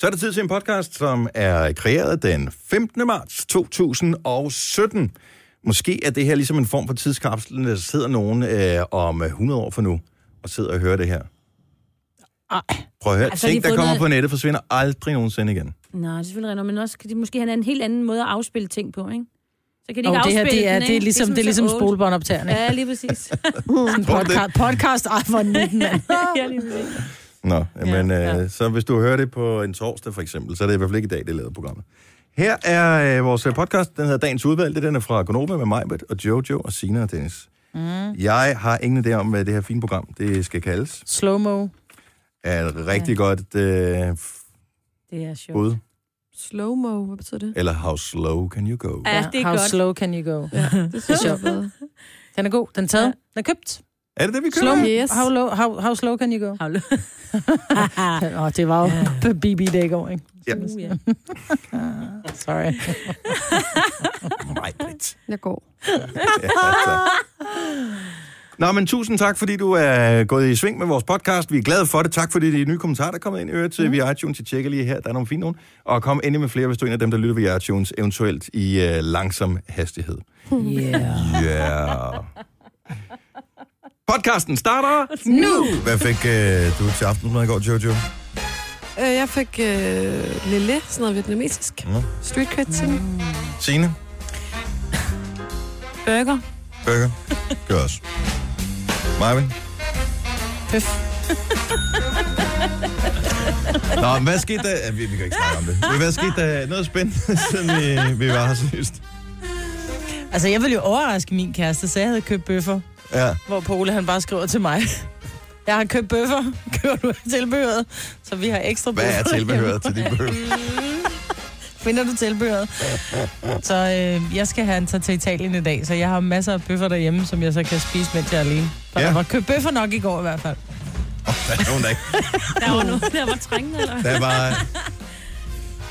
Så er det tid til en podcast, som er kreeret den 15. marts 2017. Måske er det her ligesom en form for tidskapsel, der sidder nogen øh, om 100 år fra nu og sidder og hører det her. Ej. Prøv at høre, altså, Altså, de ting, der har kommer fundet- på nettet, forsvinder aldrig nogensinde igen. Nej, det er selvfølgelig rigtigt, men også kan de måske have en helt anden måde at afspille ting på, ikke? Så kan de Og ikke det her, afspille det er, den, det er ikke? ligesom, det er ligesom så old. spolebåndoptagerne. Ja, lige præcis. Sådan en Tror du det? podcast, podcast ej, hvor er den nitten, mand. ja, lige præcis. Nå, ja, men øh, ja. ja. så hvis du hører det på en torsdag for eksempel, så er det i hvert fald ikke i dag, det er lavet programmet. Her er øh, vores øh, podcast, den hedder Dagens Udvalgte, den er fra Gonova med mig, og Jojo og Sina og Dennis. Mm. Jeg har ingen idé om, hvad det her fine program, det skal kaldes. Slow-mo. Er et rigtig ja. godt øh, Det er sjovt. bud. Slow-mo, hvad betyder det? Eller How Slow Can You Go? Ja, det er How godt. slow can you go? Det synes jeg er bedre. Den er god. Den er taget. Den er købt. Er det det, vi kører? Slow, Yes. how, low, how, how slow can you go? How low. Åh, oh, det var jo BB det i går, ikke? Ja. Uh, ja. Sorry. Nej, Britt. Jeg går. Ja, altså. Nå, men tusind tak, fordi du er gået i sving med vores podcast. Vi er glade for det. Tak for de nye kommentarer, der er kommet ind i øvrigt til mm. via iTunes. Jeg tjekker lige her, der er nogle fine nogen. Og kom endelig med flere, hvis du er en af dem, der lytter via iTunes, eventuelt i øh, langsom hastighed. Yeah. Ja. Yeah. Podcasten starter Nu! Hvad fik øh, du til aftensmad i går, Jojo? Øh, jeg fik øh, lille, sådan noget vietnamesisk. Nå. Street cred til mig. Signe? Burger. Burger? Gør os. Marvin? Pøf. Nå, men hvad skete der? Ja, Vi, vi kan ikke snakke om det. Men hvad skete der? Noget spændende, siden vi, vi var her sidst. Altså, jeg ville jo overraske min kæreste, så jeg havde købt bøffer. Ja. Hvor Pole, han bare skriver til mig. Jeg har købt bøffer. Køber du tilbehøret? Så vi har ekstra bøffer. Hvad er tilbehøret til din bøf? Finder du tilbehøret? Så øh, jeg skal have en tur til Italien i dag, så jeg har masser af bøffer derhjemme, som jeg så kan spise, mens jeg er alene. For Ja. ja. der var købt bøffer nok i går i hvert fald. Der er nogen, der ikke. Der var noget, der var trængende, eller? Der er bare...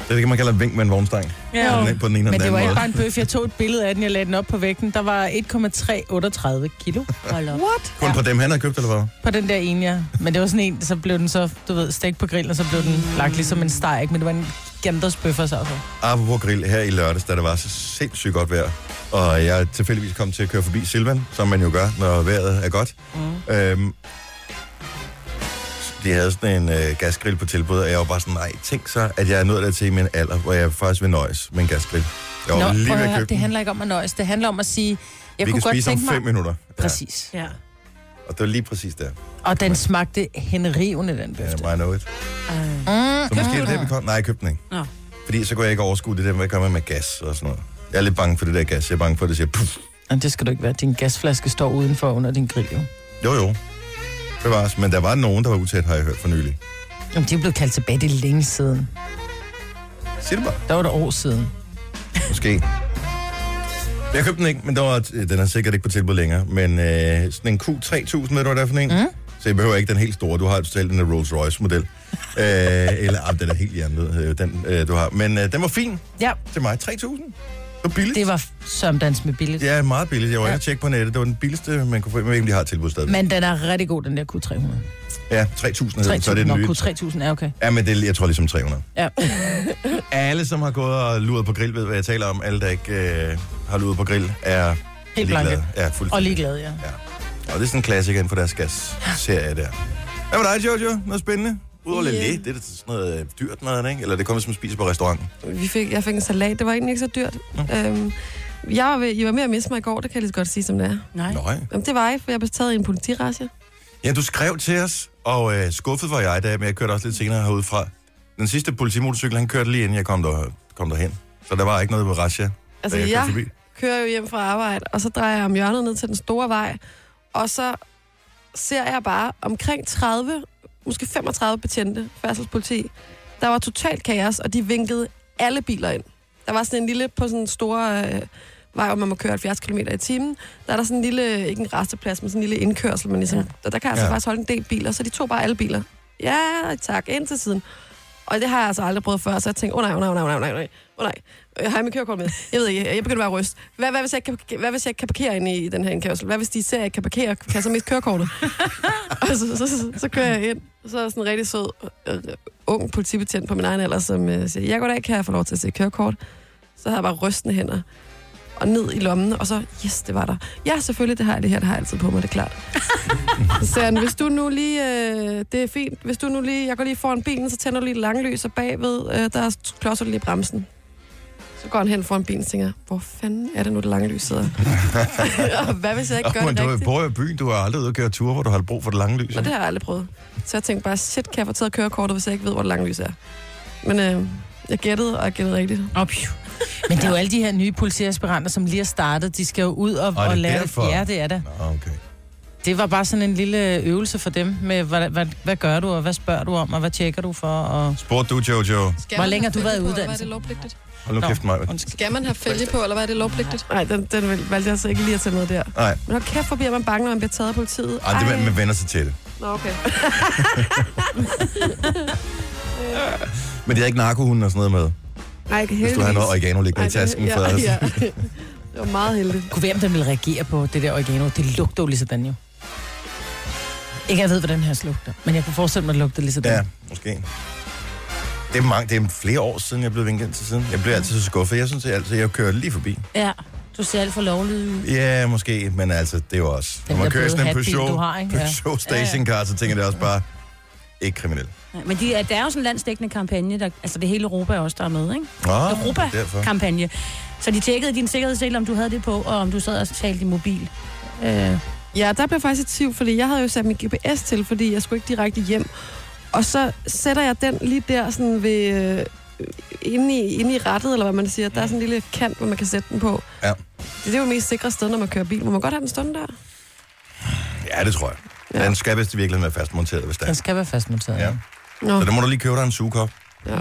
Det er det, man kalder et vink med en vognstang. Ja, På den ene- På den ene eller Men det den var anden ikke måde. bare en bøf. Jeg tog et billede af den, jeg lagde den op på vægten. Der var 1,338 kilo hold op. What? Kun på dem, han har købt, eller hvad? på den der ene, ja. Men det var sådan en, så blev den så, du ved, stegt på grillen, og så blev den lagt ligesom en steg, ikke? Men det var en gigantisk bøffer så. altså. Apropos grill her i lørdags, da det var så sindssygt godt vejr. Og jeg tilfældigvis kom til at køre forbi Silvan, som man jo gør, når vejret er godt. Mm. Øhm, de havde sådan en øh, gasgrill på tilbud, og jeg var bare sådan, nej, tænk så, at jeg er nået dertil i min alder, hvor jeg faktisk vil nøjes med en gasgrill. Jeg var lige prøv ved at at høre, købe det den. handler ikke om at nøjes. Det handler om at sige, jeg Vi kunne kan godt spise om tænke mig... fem minutter. Præcis. Ja. Ja, og det var lige præcis der. Og den smagte henrivende, den bøf. Yeah, I know it. Ej. Mm, Så måske er det det, vi kom. Nej, jeg købte den ikke. Nå. Fordi så kunne jeg ikke overskue det der, hvad gør man med gas og sådan noget. Jeg er lidt bange for det der gas. Jeg er bange for, at det siger puff. Jamen, det skal du ikke være. Din gasflaske står udenfor under din grill, jo. Jo, jo. Det var Men der var nogen, der var utæt, har jeg hørt for nylig. Jamen, de er blevet kaldt tilbage. Det er længe siden. Sig det bare. Der var det år siden. Måske. Jeg købte den ikke, men der var, øh, den er sikkert ikke på tilbud længere. Men øh, sådan en Q3000, ved du, hvad det er for en? Mm. Så jeg behøver ikke den helt store. Du har selv den der Rolls Royce-model. øh, eller, ah, den er helt jernlød, øh, den øh, du har. Men øh, den var fin Ja, til mig. 3000. Det var billigt. det var sømdans med billigt. Ja. Ja, meget billigt. Jeg var inde og tjekke på nettet. Det var den billigste, man kunne få. Jeg ved ikke, om de har et tilbud stadigvæk. Men den er rigtig god, den der Q300. Ja, 3.000 hedder den, så er 3000, det Nå, den nye. Q3000 er okay. Ja, men det, er- jeg tror ligesom 300. Ja. Alle, som har gået og luret på grill, ved, hvad jeg taler om. Alle, der ikke øh, har luret på grill, er Helt ligeglade. blanke. Ja, fuldstændig. Og ligeglad, ja. Ja. Og det er sådan en klassiker inden for deres gas-serie der. Hvad med dig, Jojo? Noget spændende? Udover yeah. Ja. lille, det er da sådan noget øh, dyrt mad, ikke? Eller det kommer, som spiser på restauranten. Vi fik, jeg fik en salat, det var egentlig ikke så dyrt. Øhm, jeg var, ved, I var med at miste mig i går, det kan jeg lige så godt sige, som det er. Nej. Nøj. Jamen, det var jeg, for jeg blev taget i en politirasje. Ja, du skrev til os, og øh, skuffet var jeg, da, men jeg kørte også lidt senere herude fra. Den sidste politimotorcykel, han kørte lige inden jeg kom, der, kom derhen. Så der var ikke noget ved Russia, Altså, da jeg jeg kørte forbi. kører jo hjem fra arbejde, og så drejer jeg om hjørnet ned til den store vej, og så ser jeg bare omkring 30, måske 35 betjente færdselspoliti. Der var totalt kaos, og de vinkede alle biler ind. Der var sådan en lille på sådan en stor øh, vej, hvor man må køre 70 km i timen. Der er der sådan en lille, øh, ikke en resteplads, men sådan en lille indkørsel, men ligesom, ja. der, der kan altså Ja. ja. faktisk holde en del biler, så de tog bare alle biler. Ja, tak, ind til siden. Og det har jeg altså aldrig prøvet før, så jeg tænkte, åh oh, nej, åh oh, nej, åh oh, nej, åh oh, nej, åh nej, åh oh, nej. Øh, Har jeg min kørekort med? Jeg ved ikke, jeg begynder bare at ryste. Hvad, hvad, hvis jeg ikke kan, parke- hvad hvis jeg ikke kan parkere inde i den her indkørsel? Hvad hvis de ser, at jeg ikke kan parkere? Kan jeg så miste kørekortet? og så, så, så, så kører jeg ind, Så er der sådan en rigtig sød, øh, ung politibetjent på min egen alder, som øh, siger, jeg går da kan jeg få lov til at se kørekort? Så har jeg bare rystende hænder og ned i lommen, og så, yes, det var der. Ja, selvfølgelig, det har jeg det her, det har jeg altid på mig, det er klart. så siger han, hvis du nu lige, øh, det er fint, hvis du nu lige, jeg går lige foran bilen, så tænder du lige et langlys, og bagved, øh, der klodser du lige bremsen. Så går han hen foran bilen og tænker, hvor fanden er det nu, det lange lys sidder? og hvad hvis jeg ikke gør men det du rigtigt? bor jo i byen, du har aldrig ude og køre ture, hvor du har brug for det lange lys. Nå, det har jeg aldrig prøvet. Så jeg tænkte bare, shit, kan jeg få taget kørekortet, hvis jeg ikke ved, hvor det lange lys er? Men øh, jeg gættede, og jeg gættede rigtigt. Op, Men det er jo alle de her nye politiaspiranter, som lige er startet. De skal jo ud og, Og er og det lære. derfor? Ja, det er det. Nå, okay. Det var bare sådan en lille øvelse for dem med, hvad, hvad, hvad gør du, og hvad spørger du om, og hvad tjekker du for, og... Spurgte du, Jojo? Skal Hvor man længe have har du været i fælge på, eller uddannelse? Hvad er det lovpligtigt? Hold nu Nå. kæft mig. Skal man have fælge på, eller hvad er det lovpligtigt? Nej, den, den vil- valgte jeg så ikke lige at tage med der. Nej, Men hold kæft, hvor bliver man bange, når man bliver taget af politiet. Ej, det, man vender sig til det. Nå, okay. Men det er ikke narkohunden og sådan noget med. Nej, ikke heldigvis. Hvis du har noget oregano Ej, liggende i det- tasken. ja, for altså. os. ja. Det var meget heldigt. Kunne være, om den ville reagere på det der oregano. Det lugter jo lige sådan jo. Ikke at jeg ved, hvordan her lugter, men jeg kunne forestille mig, at det lugter lige sådan. Ja, måske. Det er, mange, det er flere år siden, jeg blev vinket ind til siden. Jeg bliver altid så skuffet. Jeg synes jeg altid, jeg kører lige forbi. Ja, du ser alt for lovlig ud. Ja, måske, men altså, det er jo også... Når Den man der kører bløde sådan en hatbil, Peugeot, du har, ikke? Ja. Peugeot stationcar, så tænker jeg det også bare, ikke kriminel. Ja, Men de, er- der er jo sådan en landsdækkende kampagne, der, altså det hele Europa er også, der er med, ikke? Nå, Europa. Derfor. Kampagne. Så de tjekkede din sikkerhedssel, om du havde det på, og om du sad og talte i mobil. Øh, Ja, der blev jeg faktisk i tvivl, fordi jeg havde jo sat min GPS til, fordi jeg skulle ikke direkte hjem. Og så sætter jeg den lige der sådan ved... Øh, inde, i, inde i rettet, eller hvad man siger. Der er sådan en lille kant, hvor man kan sætte den på. Ja. Det er jo det mest sikre sted, når man kører bil. Må man godt have den stående der? Ja, det tror jeg. Ja. Den skal vist i virkeligheden være fastmonteret, hvis det er. Den skal være fastmonteret. Ja. Ja. Nå, Så der må du lige købe dig en sugekop. Ja.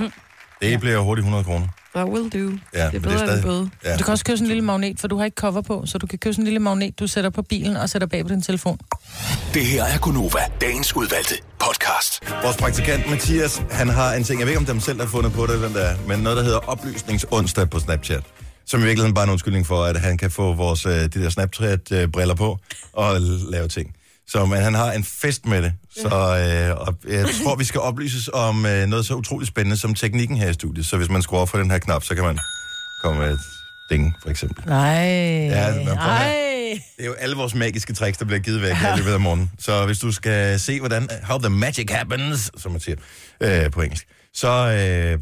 Det bliver hurtigt 100 kroner. I will do. Ja, Det er men bedre end en bøde. Ja. Du kan også købe sådan en lille magnet, for du har ikke cover på, så du kan købe sådan en lille magnet, du sætter på bilen og sætter bag på din telefon. Det her er Gonova, dagens udvalgte podcast. Vores praktikant Mathias, han har en ting, jeg ved ikke, om dem selv har fundet på det, hvem der er, men noget, der hedder oplysningsonsdag på Snapchat. Som i virkeligheden bare er en undskyldning for, at han kan få vores, øh, de der Snapchat-briller på og lave ting. Så men han har en fest med det. Så øh, og jeg tror, vi skal oplyses om øh, noget så utroligt spændende som teknikken her i studiet. Så hvis man skruer op for den her knap, så kan man komme med et ding, for eksempel. Nej. Ja, men prøv at høre. Ej. Det er jo alle vores magiske tricks, der bliver givet væk her i løbet af morgenen. Så hvis du skal se, hvordan how the magic happens, som man siger øh, på engelsk, så øh,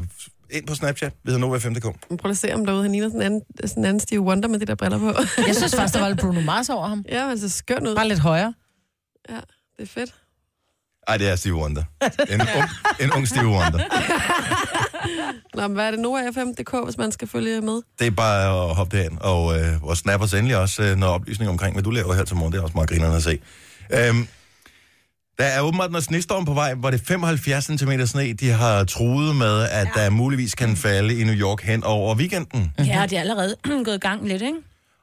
ind på Snapchat, ved Nova5.dk. Men Prøv lige at se, om derude han ligner sådan en anden, sådan en anden Steve Wonder med de der briller på. Jeg synes faktisk, der var lidt Bruno Mars over ham. ja, han ser skøn ud. Bare lidt højere. Ja, det er fedt. Ej, det er Steve Wonder. En, ung, en ung Steve Wonder. Nå, men hvad er det? NoaFM.dk, hvis man skal følge med. Det er bare at hoppe derind, og, øh, og snap os endelig også øh, noget oplysning omkring, hvad du laver her til morgen. Det er også meget grinerende at se. Øhm, der er åbenbart noget snestorm på vej, hvor det er 75 cm sne, de har truet med, at ja. der muligvis kan falde i New York hen over weekenden. ja, det er allerede gået i gang lidt, ikke?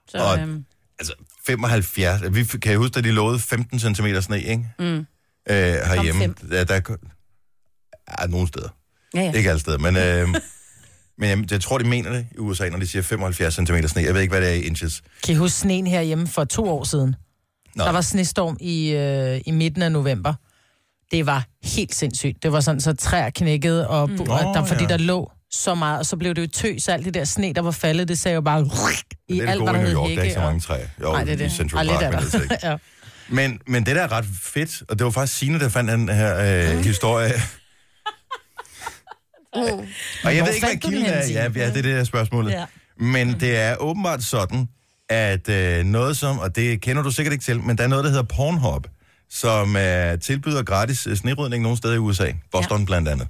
Så, Og- øhm, altså 75, vi kan jeg huske, at de lovede 15 cm sne, ikke? Mm. Øh, herhjemme. fem. Ja, der er, er nogle steder. ja, ja. Ikke alle steder, men, øh, men jeg, jeg tror, de mener det i USA, når de siger 75 cm sne. Jeg ved ikke, hvad det er i inches. Kan I huske sneen herhjemme for to år siden? Nå. Der var snestorm i, øh, i midten af november. Det var helt sindssygt. Det var sådan, så træer knækkede, og, mm. og der, Nå, fordi ja. ja. der lå så meget, og så blev det jo tøs, alt det der sne, der var faldet, det sagde jo bare i Det er det alt, hvad gode i der New hed York, der er ikke hække. så mange træer. Jo, og... Nej, det er det. i Central Ej, Park, lidt men altså er ikke. der. ja. Men, men det der er ret fedt, og det var faktisk Signe, der fandt den her øh, historie. Mm. Og jeg Hvor ved ikke, hvad fandt du den kilden henne, er. Ja, Signe? ja, det er det der spørgsmål. Ja. Ja. Men det er åbenbart sådan, at øh, noget som, og det kender du sikkert ikke til, men der er noget, der hedder Pornhub, som øh, tilbyder gratis øh, snerydning nogle steder i USA. Boston ja. blandt andet,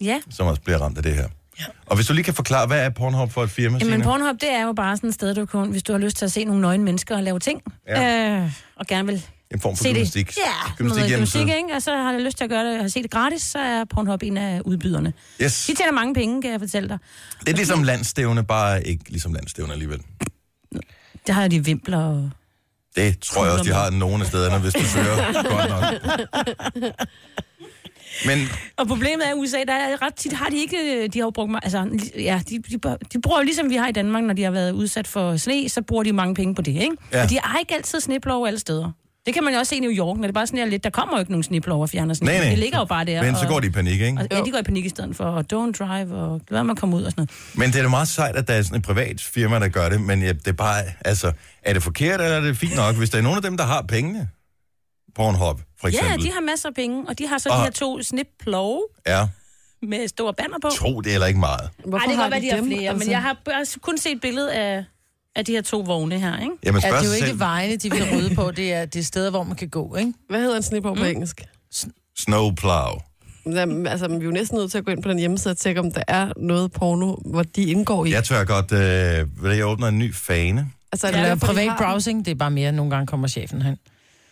ja. som også bliver ramt af det her. Ja. Og hvis du lige kan forklare, hvad er Pornhub for et firma, Jamen, Signe? Pornhub, det er jo bare sådan et sted, du kan, hvis du har lyst til at se nogle nøgne mennesker og lave ting, Ja. ja. øh, og gerne vil En form for se det. gymnastik. Ja, gymnastik gymnastik, gymnastik hjemmeside. ikke? Og så har jeg lyst til at gøre det, og se det gratis, så er Pornhub en af udbyderne. Yes. De tjener mange penge, kan jeg fortælle dig. Det er ligesom landstævne, bare ikke ligesom landstævne alligevel. Der har de vimpler og... Det tror jeg også, de har nogen af stederne, hvis du søger godt nok. Men Og problemet er, at i USA, der er ret tit, har de ikke, de har jo brugt, ma- altså, ja, de, de, bør- de bruger jo ligesom vi har i Danmark, når de har været udsat for sne, så bruger de mange penge på det, ikke? Ja. Ja. Og de har ikke altid sneplov alle steder. Det kan man jo også se i New York, når det er bare sådan her lidt, der kommer jo ikke nogen snibler og fjerner sådan Nej, noget. nej. Det ligger jo bare der. Men så og- går de i panik, ikke? Og, ja, de går i panik i stedet for, og don't drive, og lad man komme ud og sådan noget. Men det er da meget sejt, at der er sådan et privat firma, der gør det, men ja, det er bare, altså, er det forkert, eller er det fint nok, hvis der er nogen af dem, der har pengene? Pornhub, for Ja, eksempel. de har masser af penge, og de har så Og- de her to snibplove Ja, med store banner på. tro det er heller ikke meget. Ej, det kan godt være, de har flere, altså? men jeg har... har bare kun set et billede af, af de her to vogne her, ikke? Jamen, Ja, det spørg er ja, jo sig ikke selv. vejene, de vil rydde på. Det er, det er steder, hvor man kan gå, ikke? Hvad hedder en snibor Mm. på engelsk? Snowplow. Jamen, altså, vi er jo næsten nødt til at gå ind på den hjemmeside og tjekke, om der er noget porno, hvor de indgår i. Jeg tør godt, øh, vil jeg åbner en ny fane. Altså, Eller derfor, de privat har den? browsing, det er bare mere, nogle gange kommer chefen hen.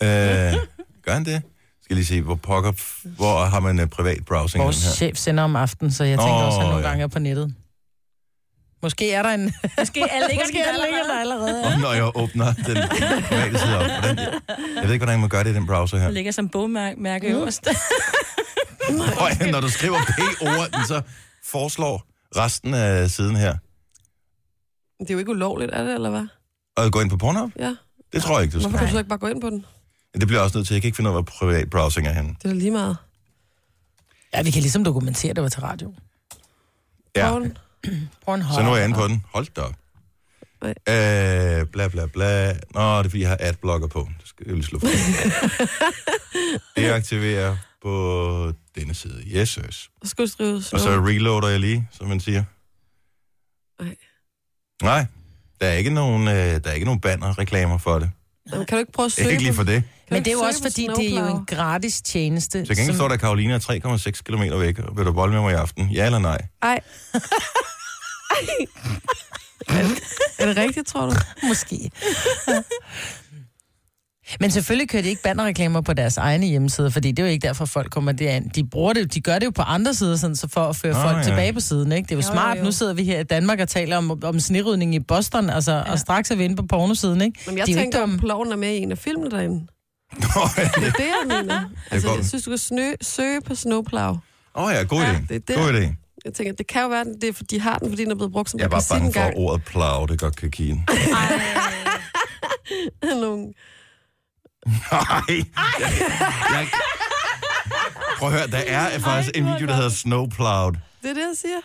Øh, gør han det? Skal lige se, hvor pokker, hvor har man øh, privat browsing Vores her? chef sender om aftenen, så jeg tænker Åh, også, at han nogle ja. gange er på nettet. Måske er der en... Måske alle ligger Måske er der ligger der allerede. Og når jeg åbner den private side op. Hvordan, jeg ved ikke, hvordan man gør det i den browser her. Der ligger som bogmærke mm. øverst. Og når du skriver P-ordet, så foreslår resten af siden her. Det er jo ikke ulovligt, er det, eller hvad? Og gå ind på Pornhub? Ja. Det tror jeg ikke, du Hvorfor skal. kan du så ikke bare gå ind på den? Det bliver jeg også nødt til. Jeg kan ikke finde ud af, hvor privat browsing er henne. Det er da lige meget. Ja, vi kan ligesom dokumentere, det var til radio. Ja, Porn. Pornhub. så nu er jeg inde på den. Hold da op. Nej. Øh, bla bla bla. Nå, det er fordi, jeg har adblocker på. Det skal jeg lige slå fra. det aktiverer på denne side. Yes, yes. Så skal du skrive Og så sådan reloader jeg lige, som man siger. Nej. Nej, der er ikke nogen, øh, der er ikke nogen banner reklamer for det. Jamen, Kan du ikke prøve at Det er søge ikke lige på- for det. kan Men du det er jo ikke også, søge på fordi det er jo en Snowplow? gratis tjeneste. Til gengæld står der, at Karoline er 3,6 km væk. Og vil du bolle med mig i aften? Ja eller nej? Ej. Er det- er det rigtigt, tror du? Måske. Men selvfølgelig kører de ikke bannerreklamer på deres egne hjemmesider, fordi det er jo ikke derfor, folk kommer derind. De, bruger det, de gør det jo på andre sider, sådan, så for at føre Nå, folk ja. tilbage på siden. Ikke? Det er jo, Jo, jo, smart. jo. Nu sidder vi her i Danmark og taler om, om snerydning i Boston, altså, ja. og straks er vi inde på pornosiden. Ikke? Jamen, jeg de er jo ikke tænker, om dumme. ploven er med i en af filmene derinde. Nå, Det er det, jeg mener. Altså, godt. jeg synes, du kan snø, søge på snowplow. Åh oh ja, god idé. det er der. god idé. Jeg tænker, det kan jo være, at det er, fordi de har den, fordi den er blevet brugt som Jeg er bare rekvisit bange for, engang. at ordet plow, det godt kan give en. Nogle- Nej. Jeg, jeg, prøv at høre, der er faktisk en video, der hedder Snowplowed. Det er det, jeg siger.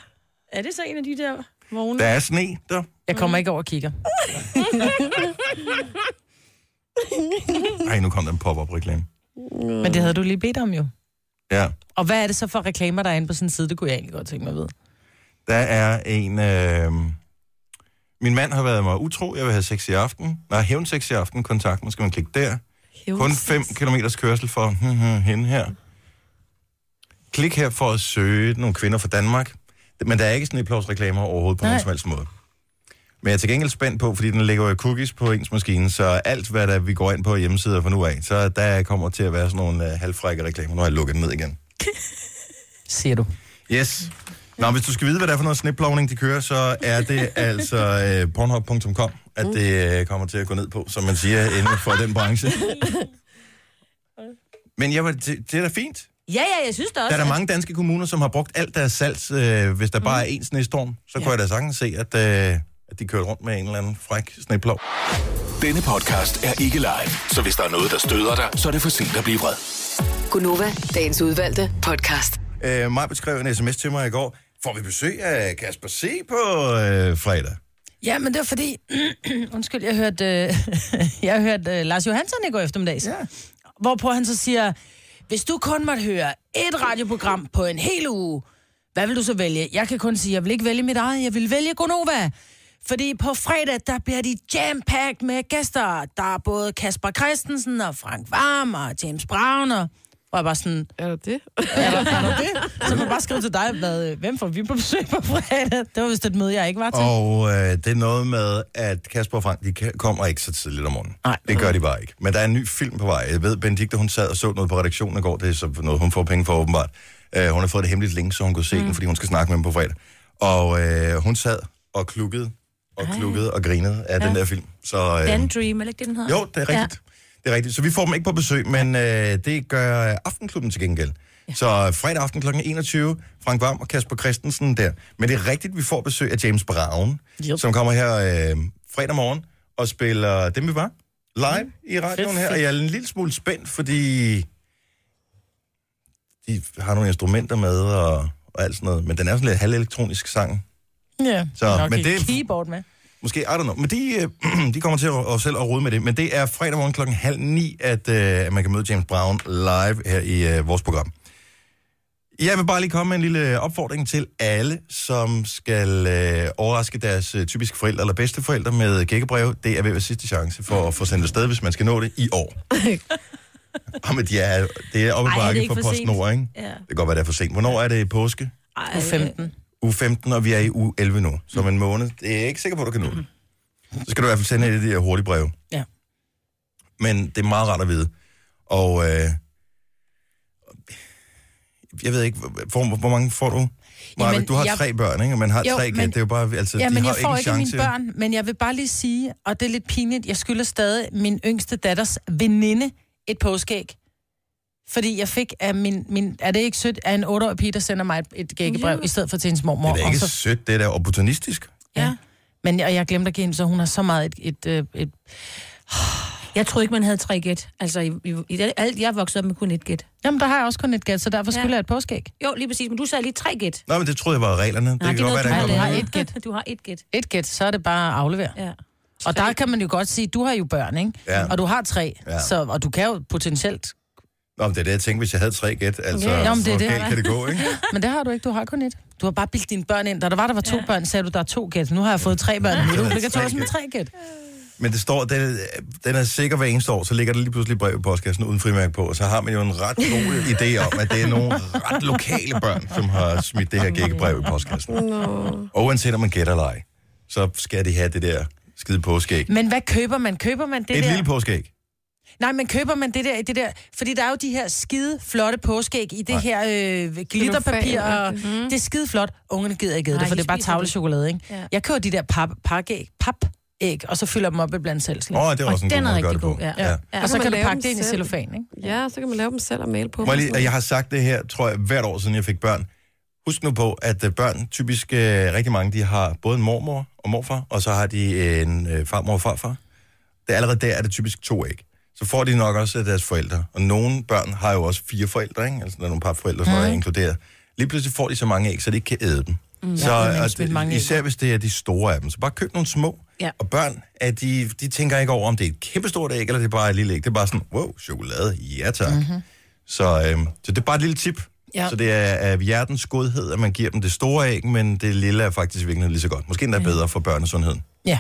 er det så en af de der vogne? Der er sne der. Jeg Mm. kommer ikke over og kigger. Ej, nu kom den pop-up reklame. Men det havde du lige bedt om jo. Ja. Og hvad er det så for reklamer, der er inde på sådan en side? Det kunne jeg egentlig godt tænke mig at vide. Der er en... Øh, min mand har været mig utro. Jeg vil have sex i aften. Nej, hævn sex i aften. Kontakt mig. Skal man klikke der? Kun 5 km kørsel for hmm, hende her. Klik her for at søge nogle kvinder fra Danmark. Men der er ikke sådan et plads reklamer overhovedet på Nej. nogen som helst måde. Men jeg er til gengæld spændt på, fordi den lægger jo cookies på ens maskine, så alt hvad der, vi går ind på hjemmesider fra nu af, så der kommer til at være sådan nogle uh, halvfrække reklamer. Nu har jeg lukket den ned igen. Siger du. Yes. Nå, hvis du skal vide, hvad det er for noget snitplovning, de kører, så er det altså øh, pornhub.com, at det øh, kommer til at gå ned på, som man siger inden for den branche. Men jeg var, det, det er da fint. Ja, ja, jeg synes da Der også. er der mange danske kommuner, som har brugt alt deres salgs. Øh, hvis der bare er én snestorm, så kunne jeg da sagtens se, at, øh, at de kører rundt med en eller anden fræk sneplov. Denne podcast er ikke live, så hvis der er noget, der støder dig, så er det for sent at blive vred. Gunova, dagens udvalgte podcast. Øh, Maj beskrev en sms til mig i går. Får vi besøg af Kasper C. på øh, fredag? Ja, men det var fordi, undskyld, jeg hørte, øh, jeg hørte øh, Lars Johansson i går eftermiddags, ja. hvorpå han så siger, hvis du kun måtte høre et radioprogram på en hel uge, hvad vil du så vælge? Jeg kan kun sige, jeg vil ikke vælge mit eget, jeg vil vælge Gonova. Fordi på fredag, der bliver de jam med gæster. Der er både Kasper Christensen og Frank Varm og James Brown og... Hvor jeg bare sådan, Er det det? er der, er der det? Så må jeg bare skrive til dig, hvad, øh, hvem får vi på besøg på fredag? Det var vist et møde, jeg ikke var til. Og øh, det er noget med, at Kasper og Frank, de ka- kommer ikke så tidligt om morgenen. Nej. Det gør de bare ikke. Men der er en ny film på vej. Jeg ved, Benedikte, hun sad og så noget på redaktionen i går. Det er så noget, hun får penge for åbenbart. Øh, hun har fået det hemmeligt link, så hun kunne se mm. den, fordi hun skal snakke med dem på fredag. Og øh, hun sad og klukkede og klukkede og grinede af ja. den der film. Så, øh, Dan Dream, eller ikke det, den hedder? jo, det er rigtigt. Ja. Det er rigtigt. Så vi får dem ikke på besøg, men øh, det gør øh, Aftenklubben til gengæld. Ja. Så øh, fredag aften kl. 21, Frank Varm og Kasper Christensen der. Men det er rigtigt, vi får besøg af James Brown, Yep. som kommer her øh, fredag morgen og spiller Dem vi var. live i radioen her, og jeg er en lille smule spændt, fordi de har nogle instrumenter med og, og alt sådan noget, men den er sådan lidt halvelektronisk sang. Ja, Så, nok men et det- keyboard med. Måske, I don't know, men de, øh, de kommer til at, at selv at rode med det, men det er fredag morgen klokken halv ni, at øh, man kan møde James Brown live her i øh, vores program. Jeg vil bare lige komme med en lille opfordring til alle, som skal øh, overraske deres øh, typiske forældre eller bedsteforældre med gækkebreve. Det er ved at være sidste chance for at få sendt afsted, hvis man skal nå det i år. Jamen, de er, det er oppe i Ej, er det bakke ikke for for sent? PostNord, ikke? Ja. Det kan godt være, det er for sent. Hvornår er det i påske? Ej, På 15. uge 15, og vi er i uge 11 nu. Så om en måned, det er jeg ikke sikker på, du kan nå det. Så skal du i hvert fald sende et af de her hurtige breve. Ja. Men det er meget rart at vide. Og øh, jeg ved ikke, hvor, hvor mange får du? Jamen, Jamen, du har jeg... jeg- tre børn, ikke? Og man har Jo, tre gæt. men- Det er jo bare, altså, Ja, de men har jeg får en ikke chance. mine børn, men jeg vil bare lige sige, og det er lidt pinligt, jeg skylder stadig min yngste datters veninde et påskeæg. Fordi jeg fik af min, min er det ikke sødt, af en 8-årig pige, der sender mig et, et gækkebrev, i stedet for til hendes Det mormor. er da ikke og så, sødt, det er da opportunistisk. ja. Men jeg, og jeg glemte at give hende, så hun har så meget et... et, et, et Jeg troede ikke, man havde tre gæt. Altså, i, i, i, alt, jeg voksede op med kun et gæt. jamen, der har jeg også kun et gæt, så derfor Ja. skylder jeg et påskeæg. Jo, lige præcis, men du sagde lige tre gæt. Nå, men det troede jeg var reglerne. Det Nej, kan det er godt være, noget, der ikke du var har lavet. nogen. har har et et gæt. gæt. Du har et gæt. Et gæt, så er det bare at aflevere. Ja. Og der kan man jo godt sige, du har jo børn, ikke? Ja. Og du har tre, Ja. ja. så, og du kan jo potentielt... Nå, men det er det, jeg tænkte, hvis jeg havde tre gæt. Altså, Ja. okay. Nå, Jamen, men det er det. kan det gå, ikke? Men det har du ikke, du har kun et. Du har bare bildt dine børn ind. Da der var, der var to ja. børn, sagde du, der er to gæt. Nu har jeg fået tre børn. Nu er Ja, du det er obligatorisk tre med tre gæt. Men det står, den, den er sikker hver eneste år, så ligger der lige pludselig et brev i postkassen uden frimærke på, og så har man jo en ret god idé om, at det er nogle ret lokale børn, som har smidt det her gækkebrev i postkassen. Nå. Og uanset om man gætter eller ej, så skal de have det der skide påskeæg. Men hvad køber man? Køber man det Et der? lille påskeæg. Nej, men køber man det der, det der? Fordi der er jo de her skide flotte påskæg i det Nej. her øh, glitterpapir. Og, mm. Det er skide flot. Ungerne gider ikke æde det, Nej, for de det er bare spiser det. tavlechokolade, ikke? Ja. Jeg køber de der pap, pakæg, papæg, og så fylder dem op i blandt selv. Åh, oh, det var også en god den er måde at gøre rigtig det på. god, ja. Ja. Ja. Og så Så kan man du laver pakke dem det ind i selv. cellofan, ikke? Ja, så kan man lave dem selv og male på. Må jeg, dem og lige, sådan jeg har sagt det her, tror jeg, hvert år siden jeg fik børn. Husk nu på, at øh, børn, typisk øh, rigtig mange, de har både en mormor og morfar, og så har de en øh, farmor og farfar. Det er allerede der, er det typisk to æg. Så får de nok også af deres forældre. Og nogle børn har jo også fire forældre, ikke? Altså, der er nogle par forældre, som mm. er inkluderet. Lige pludselig får de så mange æg, så de ikke kan æde dem. Mm. Så, Ja, det er og nemlig det, mange æg. især hvis det er de store af dem. Så bare køb nogle små. Ja. Og børn, at de, de tænker ikke over, om det er et kæmpestort æg, eller det er bare et lille æg. Det er bare sådan, wow, chokolade, ja tak. Mhm. Mm-hmm. Så, øhm, så det er bare et lille tip. Ja. Ja. Så det er af hjertens godhed, at man giver dem det store æg, men det lille er faktisk virkelig lige så godt. Måske endda bedre for børnesundheden. Ja.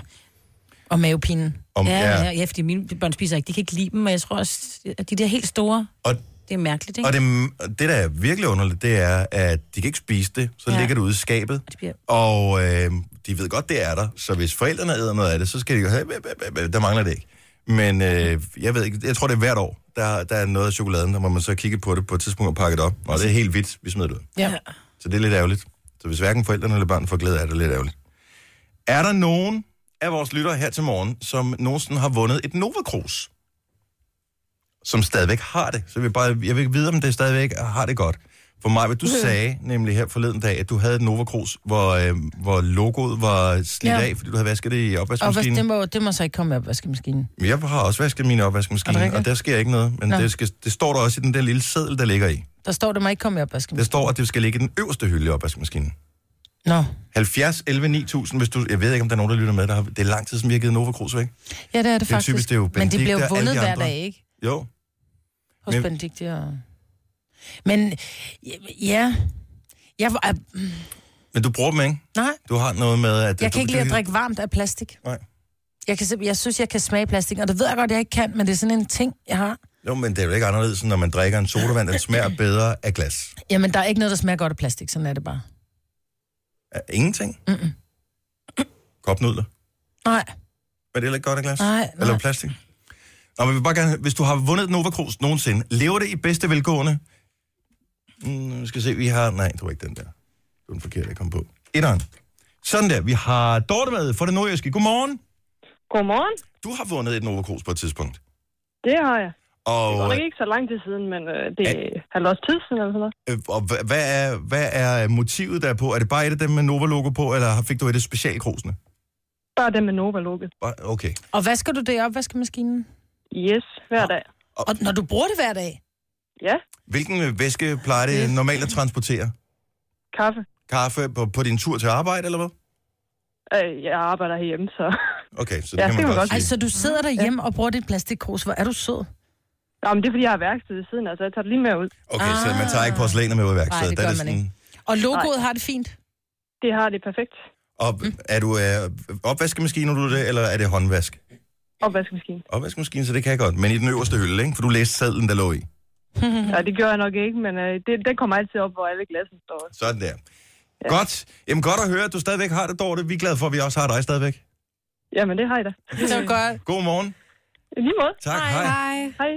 Og mavepinen. Om, Ja, ja, ja, fordi mine børn spiser ikke. De kan ikke lide dem, og jeg tror også, at de der helt store, Og, det er mærkeligt, ikke? og det, og det, der er virkelig underligt, det er, at de kan ikke spise det, så ja. Ja. ligger det ude i skabet. det bliver- Og øh, de ved godt, det er der, så hvis forældrene æder noget af det, så skal de jo have, der mangler det ikke. Men øh, jeg ved ikke, jeg tror, det er hvert år, der, der er noget af chokoladen, der må man så kigge på det på et tidspunkt og pakke det op. Og det er helt vildt, vi smider det ud. Ja. Så det er lidt ærgerligt. Så hvis hverken forældrene eller børn får glæde af det, er det lidt ærgerligt. Er der nogen af vores lyttere her til morgen, som nogensinde har vundet et Nova Cruz? Som stadigvæk har det. Så jeg vil bare, jeg vil ikke vide, om det stadigvæk har det godt. For mig, hvad du sagde nemlig her forleden dag, at du havde et Nova Cruz, hvor, øh, hvor logoet var slidt Ja. af, fordi du havde vasket det i Og hvad, det, opvaskemaskinen. må, det må så ikke komme med opvaskemaskinen. Men Jeg har også vasket mine Er det opvaskemaskiner, rigtigt? og der sker ikke noget. Men Nå. det, skal, det står der også i den der lille seddel, der ligger i. Der står, det må ikke komme i Der opvaskemaskinen. står, at det skal ligge i den øverste hylde i opvaskemaskinen. Nå. 70 11 9000, hvis du... Jeg ved ikke, om der er nogen, der lytter med. Der har, det er lang tid, som vi har givet Nova Cruz væk. Ja, det er det Det er faktisk. typisk, det er jo Men de Benedikte bliver og jo alle vundet de hver andre. dag, ikke? Jo. Hos Men- Men... Benedikte og... Men, ja... Jeg, var- øh, Men du bruger dem, ikke? nej, Du har noget med, at... jeg du, kan ikke lide at du- drikke varmt af plastik. Nej. Jeg, kan, simp- jeg synes, jeg kan smage plastik, og det ved jeg godt, jeg ikke kan, men det er sådan en ting, jeg har. Jo, men det er jo ikke anderledes, end når man drikker en sodavand, den smager bedre af glas. Jamen, der er ikke noget, der smager godt af plastik, sådan er det bare. Af ingenting. Mm-mm. Kopnudler. Nej, Er det heller ikke godt af glas? nej, nej. Eller plastik? Nå, men vi vil bare gerne, hvis du har vundet Nova Cruz nogensinde, lever det i bedste velgående? Mm, vi skal se, vi har... Nej, det var ikke den der. Det var den forkerte, jeg kom på. Etteren. Sådan der, vi har Dorte med fra det nordjyske. Godmorgen. Godmorgen. Du har vundet et Nova Cruz på et tidspunkt. Det har jeg. Det Og, var ikke så lang tid siden, men øh, det er halvårs tid siden eller sådan noget. øh, og hva- hvad, er, hvad er motivet derpå? Er det bare et af dem med Nova-logo på, eller fik du et af specialkrusene? Bare den med Nova lukket. Bare- Okay. Og vasker du det i opvaskemaskinen? Yes, hver dag. Og når du bruger det hver dag? Ja, Hvilken øh, væske plejer det normalt at transportere? kaffe. Kaffe på, på din tur til arbejde, eller hvad? Øh, jeg arbejder herhjemme, så... Okay, så det Ja, kan man det kan man godt godt sige. Ej, så Altså, du sidder derhjemme og bruger dit plastikkrus. Hvor er du sød. Nå, men det er, fordi jeg har værksted ved siden af, så jeg tager det lige med ud. Okay, så man tager ikke porcelæner med ud i Nej, værkstedet. det Der er gør det man sådan- ikke. Og logoet har det fint. Det har det perfekt. Og er du øh, opvaskemaskine, når du det, eller er det håndvask? Opvaskemaskine. Opvaskemaskine, så det kan jeg godt. Men i den øverste hylde, ikke? For du læste sadlen, der lå i. Mm. Ja, det gør jeg nok ikke, men øh, det, den kommer altid op, hvor alle glassen står. Sådan der. Godt. Jamen godt at høre, at du stadigvæk har det, Dorte. Vi er glade for, at vi også har dig stadigvæk. Jamen, det har jeg da. Så godt. God morgen. I lige måde. Tak, hej. hej. Hej. Hej.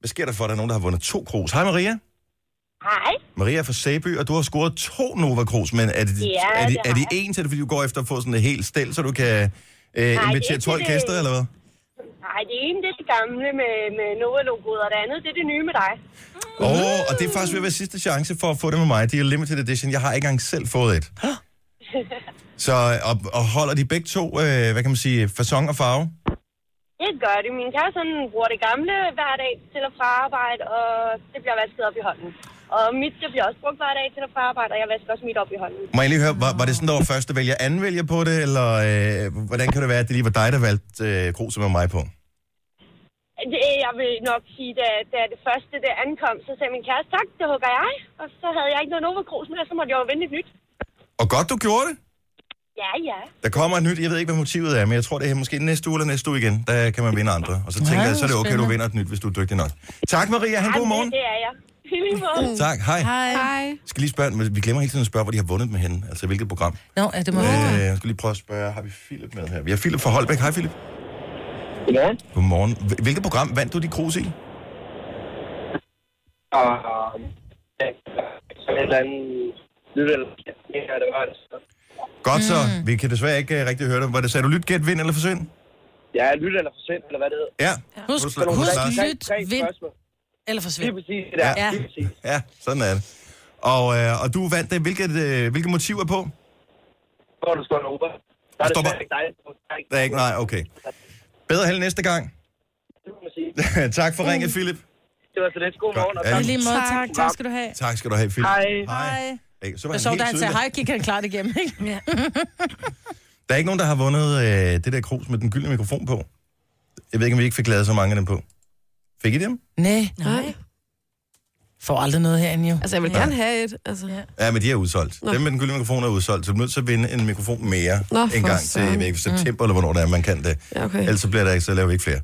Hvad sker der for, at der er nogen, der har vundet to krus? Hej Maria. Hej. Maria er fra Sæby, og du har scoret to Nova Cruz, men er det, Ja, er det, det er det har jeg. en til det, fordi du går efter at få sådan et helt stel, så du kan øh, ikke invitere til 12 det. gæster, eller hvad? Nej, det ene det er det gamle med, med Nova-logoet, og det andet det er det nye med dig. Åh, oh, og det er faktisk ved at være sidste chance for at få det med mig. Det er limited edition. Jeg har ikke engang selv fået et. Så og, og holder de begge to, øh, hvad kan man sige, fasong og farve? Det gør det. Min kæreste han bruger det gamle hver dag til og fra arbejde, og det bliver vasket op i hånden. Og mit, det bliver også brugt hver dag til og fra arbejde, og jeg vasker også mit op i hånden. Må jeg lige høre, var, var det sådan, der var første vælger, anden vælger på det, eller øh, hvordan kan det være, at det lige var dig, der valgte øh, kruset med mig på? Det, jeg vil nok sige, da, da det første det ankom, så sagde min kæreste, tak, det hugger jeg. Og så havde jeg ikke noget Nova-krus mere, så måtte jeg jo vente et nyt. Og godt, du gjorde det. Ja, ja. Der kommer et nyt, jeg ved ikke, hvad motivet er, men jeg tror, det er måske næste uge eller næste uge igen, der kan man vinde andre. Og så tænker jeg, så er det okay, du vinder et nyt, hvis du er dygtig nok. Tak Maria, han Ej, god men morgen. Det, det er jeg. I lige måde. Tak, hej. Jeg Hej. Hej. skal lige spørge, men vi glemmer hele tiden at spørge, hvor de har vundet med hende, altså hvilket program. Nå, ja, det må Øh, være. jeg skal lige prøve at spørge, har vi Philip med her? Vi har Philip fra Holbæk. Hej Philip. Godmorgen. Godmorgen. Hvil- Hvilket program vandt du de krus i? Og øh, ja, så en eller anden lyt eller ja, det var det. Så. Godt så. Vi kan desværre ikke øh, rigtig høre dig. Var det, sagde du lyt, gæt, vind eller forsvind? Ja, lyt eller for sent, eller hvad det hedder. Ja. Husk, Husk- husk husk- Tre, lyt, tre vind spørgsmål. eller Lige forsvind. præcis det der. Ja. Ja. Lige præcis. Ja, sådan er det. Og, øh, og du vandt det. Hvilket, øh, hvilke motiv er på? Hvor du står en Uber. Der er det Stopper. svært ikke dig. Der er ikke- Der er ikke, nej, okay. Bedre held næste gang. Det må man sige. tak for ringet, Philip. Det var så lidt. God morgen. Og Ja, tak. I lige måde, tak. Tak skal du have. Tak skal du have, Philip. Hej. Hej. Hey, så var Jeg så, han helt da han sagde tydelig. hej, gik han klart igennem, ikke? Der er ikke nogen, der har vundet øh, det der krus med den gyldne mikrofon på. Jeg ved ikke, om vi ikke fik lavet så mange af dem på. Fik I dem? Nej, Nej. får aldrig noget herinde jo. Altså, jeg vil gerne have et. Altså. Ja. Ja, men de er udsolgt. Nå. Dem med den gyldne mikrofon er udsolgt, så du er nødt til at vinde en mikrofon mere Nå, en for gang til søren. jeg ved ikke, september, mm. eller hvornår det er, man kan det. Ja, okay. Ellers så, bliver der ikke, så laver vi ikke flere.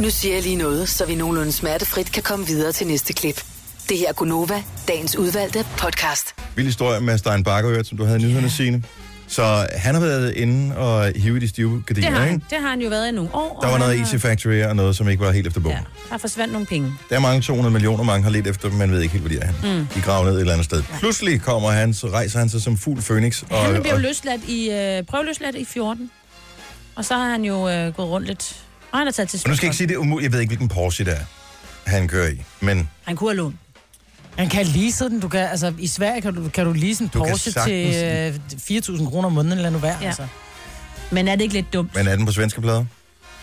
Nu siger jeg lige noget, så vi nogenlunde smertefrit kan komme videre til næste klip. Det her er Gunova, dagens udvalgte podcast. Vild historie med Stein Bakker, som du havde i nyhederne, Signe. Så han har været inde og hive i de stive Det har, gardiner, han, ikke? det har han jo været i nogle år. Der og var noget han har- Easy Factory og noget, som ikke var helt efter bogen. Ja, der forsvandt nogle penge. Der er mange 200 millioner, mange har let efter dem, man ved ikke helt, hvor de er. Mm. De graver ned et eller andet sted. Pludselig kommer han, så rejser han sig som fugl Phoenix. Og, Han blev og, løsladt i, øh, prøveløsladt i 14. Og så har han jo øh, gået rundt lidt. Og han har taget til og nu skal jeg Stockholm. ikke sige, det er umuligt. Jeg ved ikke, hvilken Porsche det er, han kører i. Men Han kunne have lånt. Man kan lease den. Du kan, altså, I Sverige kan du, kan du lease en Du kan Porsche til sagtens- øh, 4.000 kroner om måneden, eller nu værd, Ja. ja. altså. Men er det ikke lidt dumt? Men er den på svenske plader?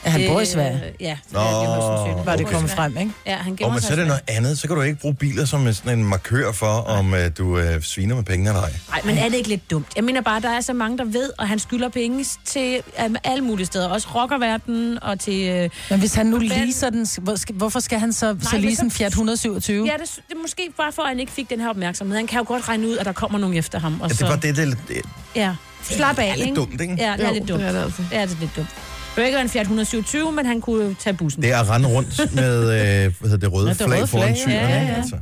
Ja, han bor i Øh, Sverige, Ja, det Nå, er det højst sandsynligt. var det Han bor i kommet Sverige. frem, ikke? Ja, han Og gemmer men så er sig det i noget andet. Så kan du ikke bruge biler som sådan en markør for, om øh, du øh, sviner med penge eller ej. Nej, men er det ikke lidt dumt? Jeg mener bare, der er så mange, der ved, og han skylder penge til um, alle mulige steder. Også rockerverdenen og til... Øh, Men hvis han nu leaser den, hvor skal- hvorfor skal han så, så men lease så- en Fiat 127? ja, det, det er måske bare for, at han ikke fik den her opmærksomhed. Han kan jo godt regne ud, at der kommer nogen efter ham. Og Ja, det så, var det, det, det, ja. Slap af, er lidt ikke? dumt, ikke? Ja, det er Jo, lidt dumt. det er det altså. Det er lidt dumt. Det var ikke være en Fiat 127, men han kunne jo tage bussen. det er at rende rundt med øh, hvad hedder det, røde Ja, det det flag røde foran flag, ja. tyren. Ja, ikke? ja. Altså.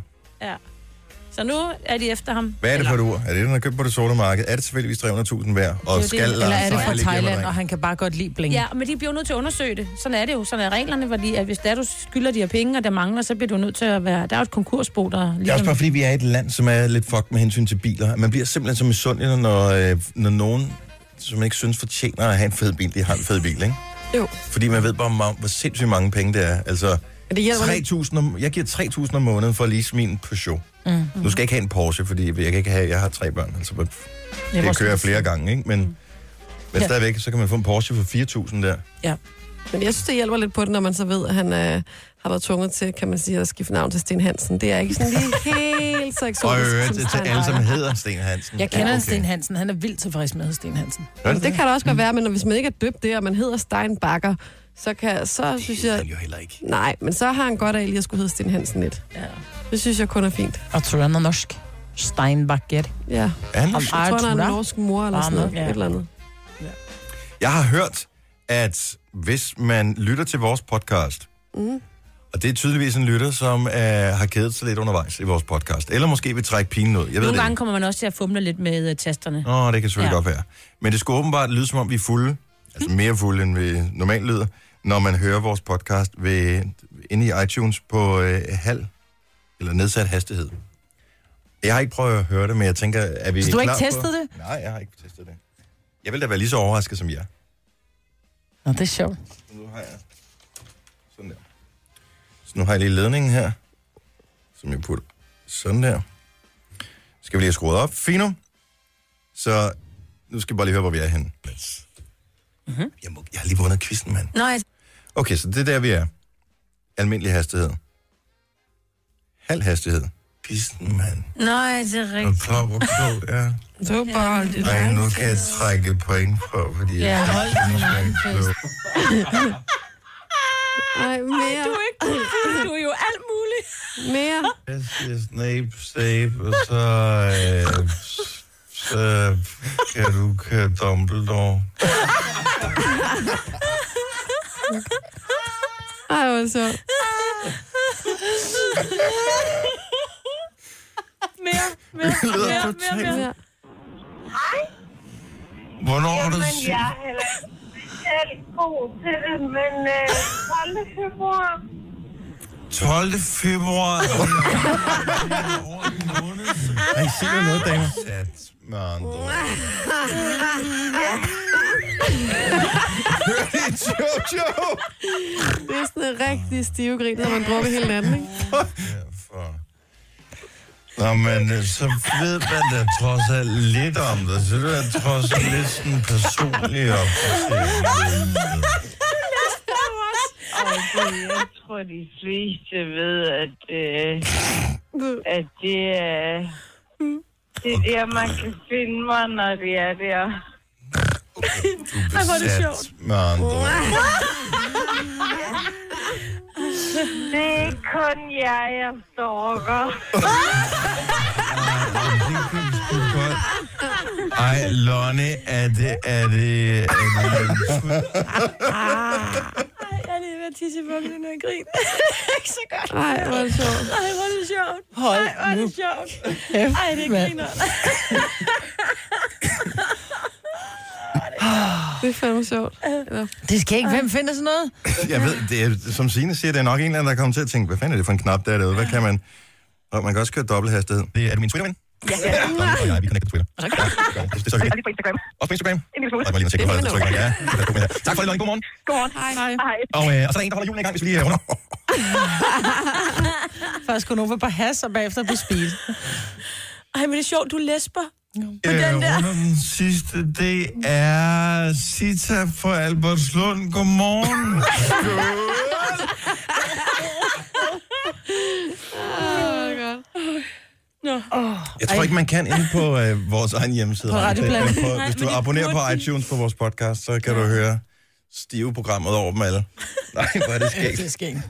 Så nu er de efter ham. Hvad er det for et ur? Er det den, der er købt på det sorte marked? Er det tilfældigvis 300.000 værd? Og det. skal Eller er det Lars fra Seier ligge hjemme Thailand, og ringe? han kan bare godt lide bling? Ja, men de bliver jo nødt til at undersøge det. Sådan er det jo. Sådan er reglerne, fordi at hvis der du skylder de her penge, og der mangler, så bliver du nødt til at være... Der er jo et konkursbo, der... Det er også bare fordi, vi er et land, som er lidt fucked med hensyn til biler. Man bliver simpelthen så misundelig, når, øh, når nogen, som man ikke synes fortjener at have en fed bil, de har en fed bil, ikke? Jo. Fordi man ved bare, hvor, mange- hvor sindssygt mange penge det er. Altså, Men det hjælper lidt. 3.000 om, jeg giver 3.000 om måneden for at lease min Peugeot. Mm. Nu skal jeg ikke have en Porsche, fordi jeg kan ikke have, jeg har tre børn, altså men det kører jeg flere gange, ikke? Men, men Ja. stadigvæk, så kan man få en Porsche for 4.000 der. Ja. Men jeg synes, det hjælper lidt på det, når man så ved, at han øh, har været tvunget til, kan man sige, at skifte navn til Sten Hansen. Det er ikke sådan lige helt så Og i eksotisk. øvrigt som til, til Stein alle, som Ejler. hedder Sten Hansen. Jeg kender Ja, ja, okay. Sten Hansen. Han er vildt tilfreds med Sten Hansen. Gør Men det det kan da også godt være, men hvis man ikke er døbt det, og man hedder Stein Bakker, så, kan, så synes jeg... han jo heller ikke. Nej, men så har han godt af, at jeg skulle hedde Sten Hansen lidt. Ja. Det synes jeg kun er fint. Og tror han er norsk. Steinbakker. Ja. Er han Om norsk? Jeg tror, han er Artura. en norsk mor eller sådan noget. Ja. Et eller andet. Jeg har hørt, at hvis man lytter til vores podcast, Mm. og det er tydeligvis en lytter, som øh, har kædet sig lidt undervejs i vores podcast, eller måske vil trække pinen ud, jeg ved Nogle det gange kommer man også til at fumle lidt med øh, tasterne. ikke. Nå, det kan selvfølgelig Ja. Mm. ja. godt være. Men det skulle åbenbart lyde, som om vi er fulde, altså mere fulde, end vi normalt lyder, når man hører vores podcast ved, inde i iTunes på øh, halv, eller nedsat hastighed. Jeg har ikke prøvet at høre det, men jeg tænker, er vi Så du har klar ikke testet på... det? Nej, jeg har ikke testet det. Jeg vil da være lige så overrasket som jer. Nå, det er sjovt. Nu har jeg sådan der. Så nu har jeg lige ledningen her, som jeg putter sådan der. Skal vi lige have skruet op. Fino. Så nu skal vi bare lige høre, hvor vi er henne. Yes. Mm-hmm. Mhm. Jeg, må, jeg har lige vundet quizzen, mand. Nej, Okay, så det er der, vi er. Almindelig hastighed. Halv hastighed. Quizzen, mand. nej, det er Jeg er rigtigt. klar, hvor klog jeg er. Super. Ej, nu kan jeg trække point på, fordi jeg Ja, er fucking klog. Ej, mere. Du er jo alt muligt. Mere. Jeg siger Snape, Snape, og så, øh, så kan du køre Dumbledore. Ej, hvor sjovt. Mere, mere, Det lyder mere, mere, totalt- mere. Ja. Hvornår er du syg? jeg er heller ikke specielt god til det, men øh, 12. februar, 12. februar. Ej, sig mig noget, damer. Sat, man. Jojo! Det er sådan en rigtig stive grin, når man drukker hele natten, ikke? Derfor. Nå, men øh, så ved man da trods alt lidt om det. Så det er trods alt lidt sådan personlig opdatering. jeg tror, de fleste ved, at, øh, at det er... Det er der, man kan finde mig, når det er der. Du er besat med andre. ord. Det er ikke kun jer, jeg stalker. Det kunne sgu godt. Ej, Lonnie, er det... Er det, er det Jeg er lige ved at tisse i bunden, når jeg griner. ikke så godt. Ej, hvor er det sjovt. Ej, hvor er det sjovt. Hold Ej, hvor er det sjovt. kæft, Ej, det mand. griner. Det er fandme sjovt. Ja. Det skal ikke. Hvem finder sådan noget? jeg ved, det er, som Signe siger, det er nok en eller anden, der kommer til at tænke, hvad fanden er det for en knap, der er derude? Hvad kan man... Og man kan også køre dobbelt hastighed. Det er det min Twitter-ven? Ja. Og jeg, vi connecter på Twitter. Ja, det gør vi. Det er så hyggeligt. på Instagram. Også på Instagram. En lille smule. Og jeg må lige tjekke, hvor jeg trykker. Ja, det er to minutter. tak for det, Lonnie. Godmorgen. Godmorgen. Hej. Hej. Og, øh, og så er der en, der holder julen i gang, hvis vi lige øh, runder. Først kun over på has, og bagefter på speed. Ej, men det er sjovt, du lesber. Øh, runder den sidste, det er Sita fra Albertslund. Godmorgen. Jeg tror ikke, man kan inde på øh, vores egen hjemmeside. På Radio Play. Radioplay. Men på- Hvis du abonnerer på iTunes på vores podcast, så kan du høre stive programmet over dem alle. Nej, hvor er det skægt. Det skal ikke.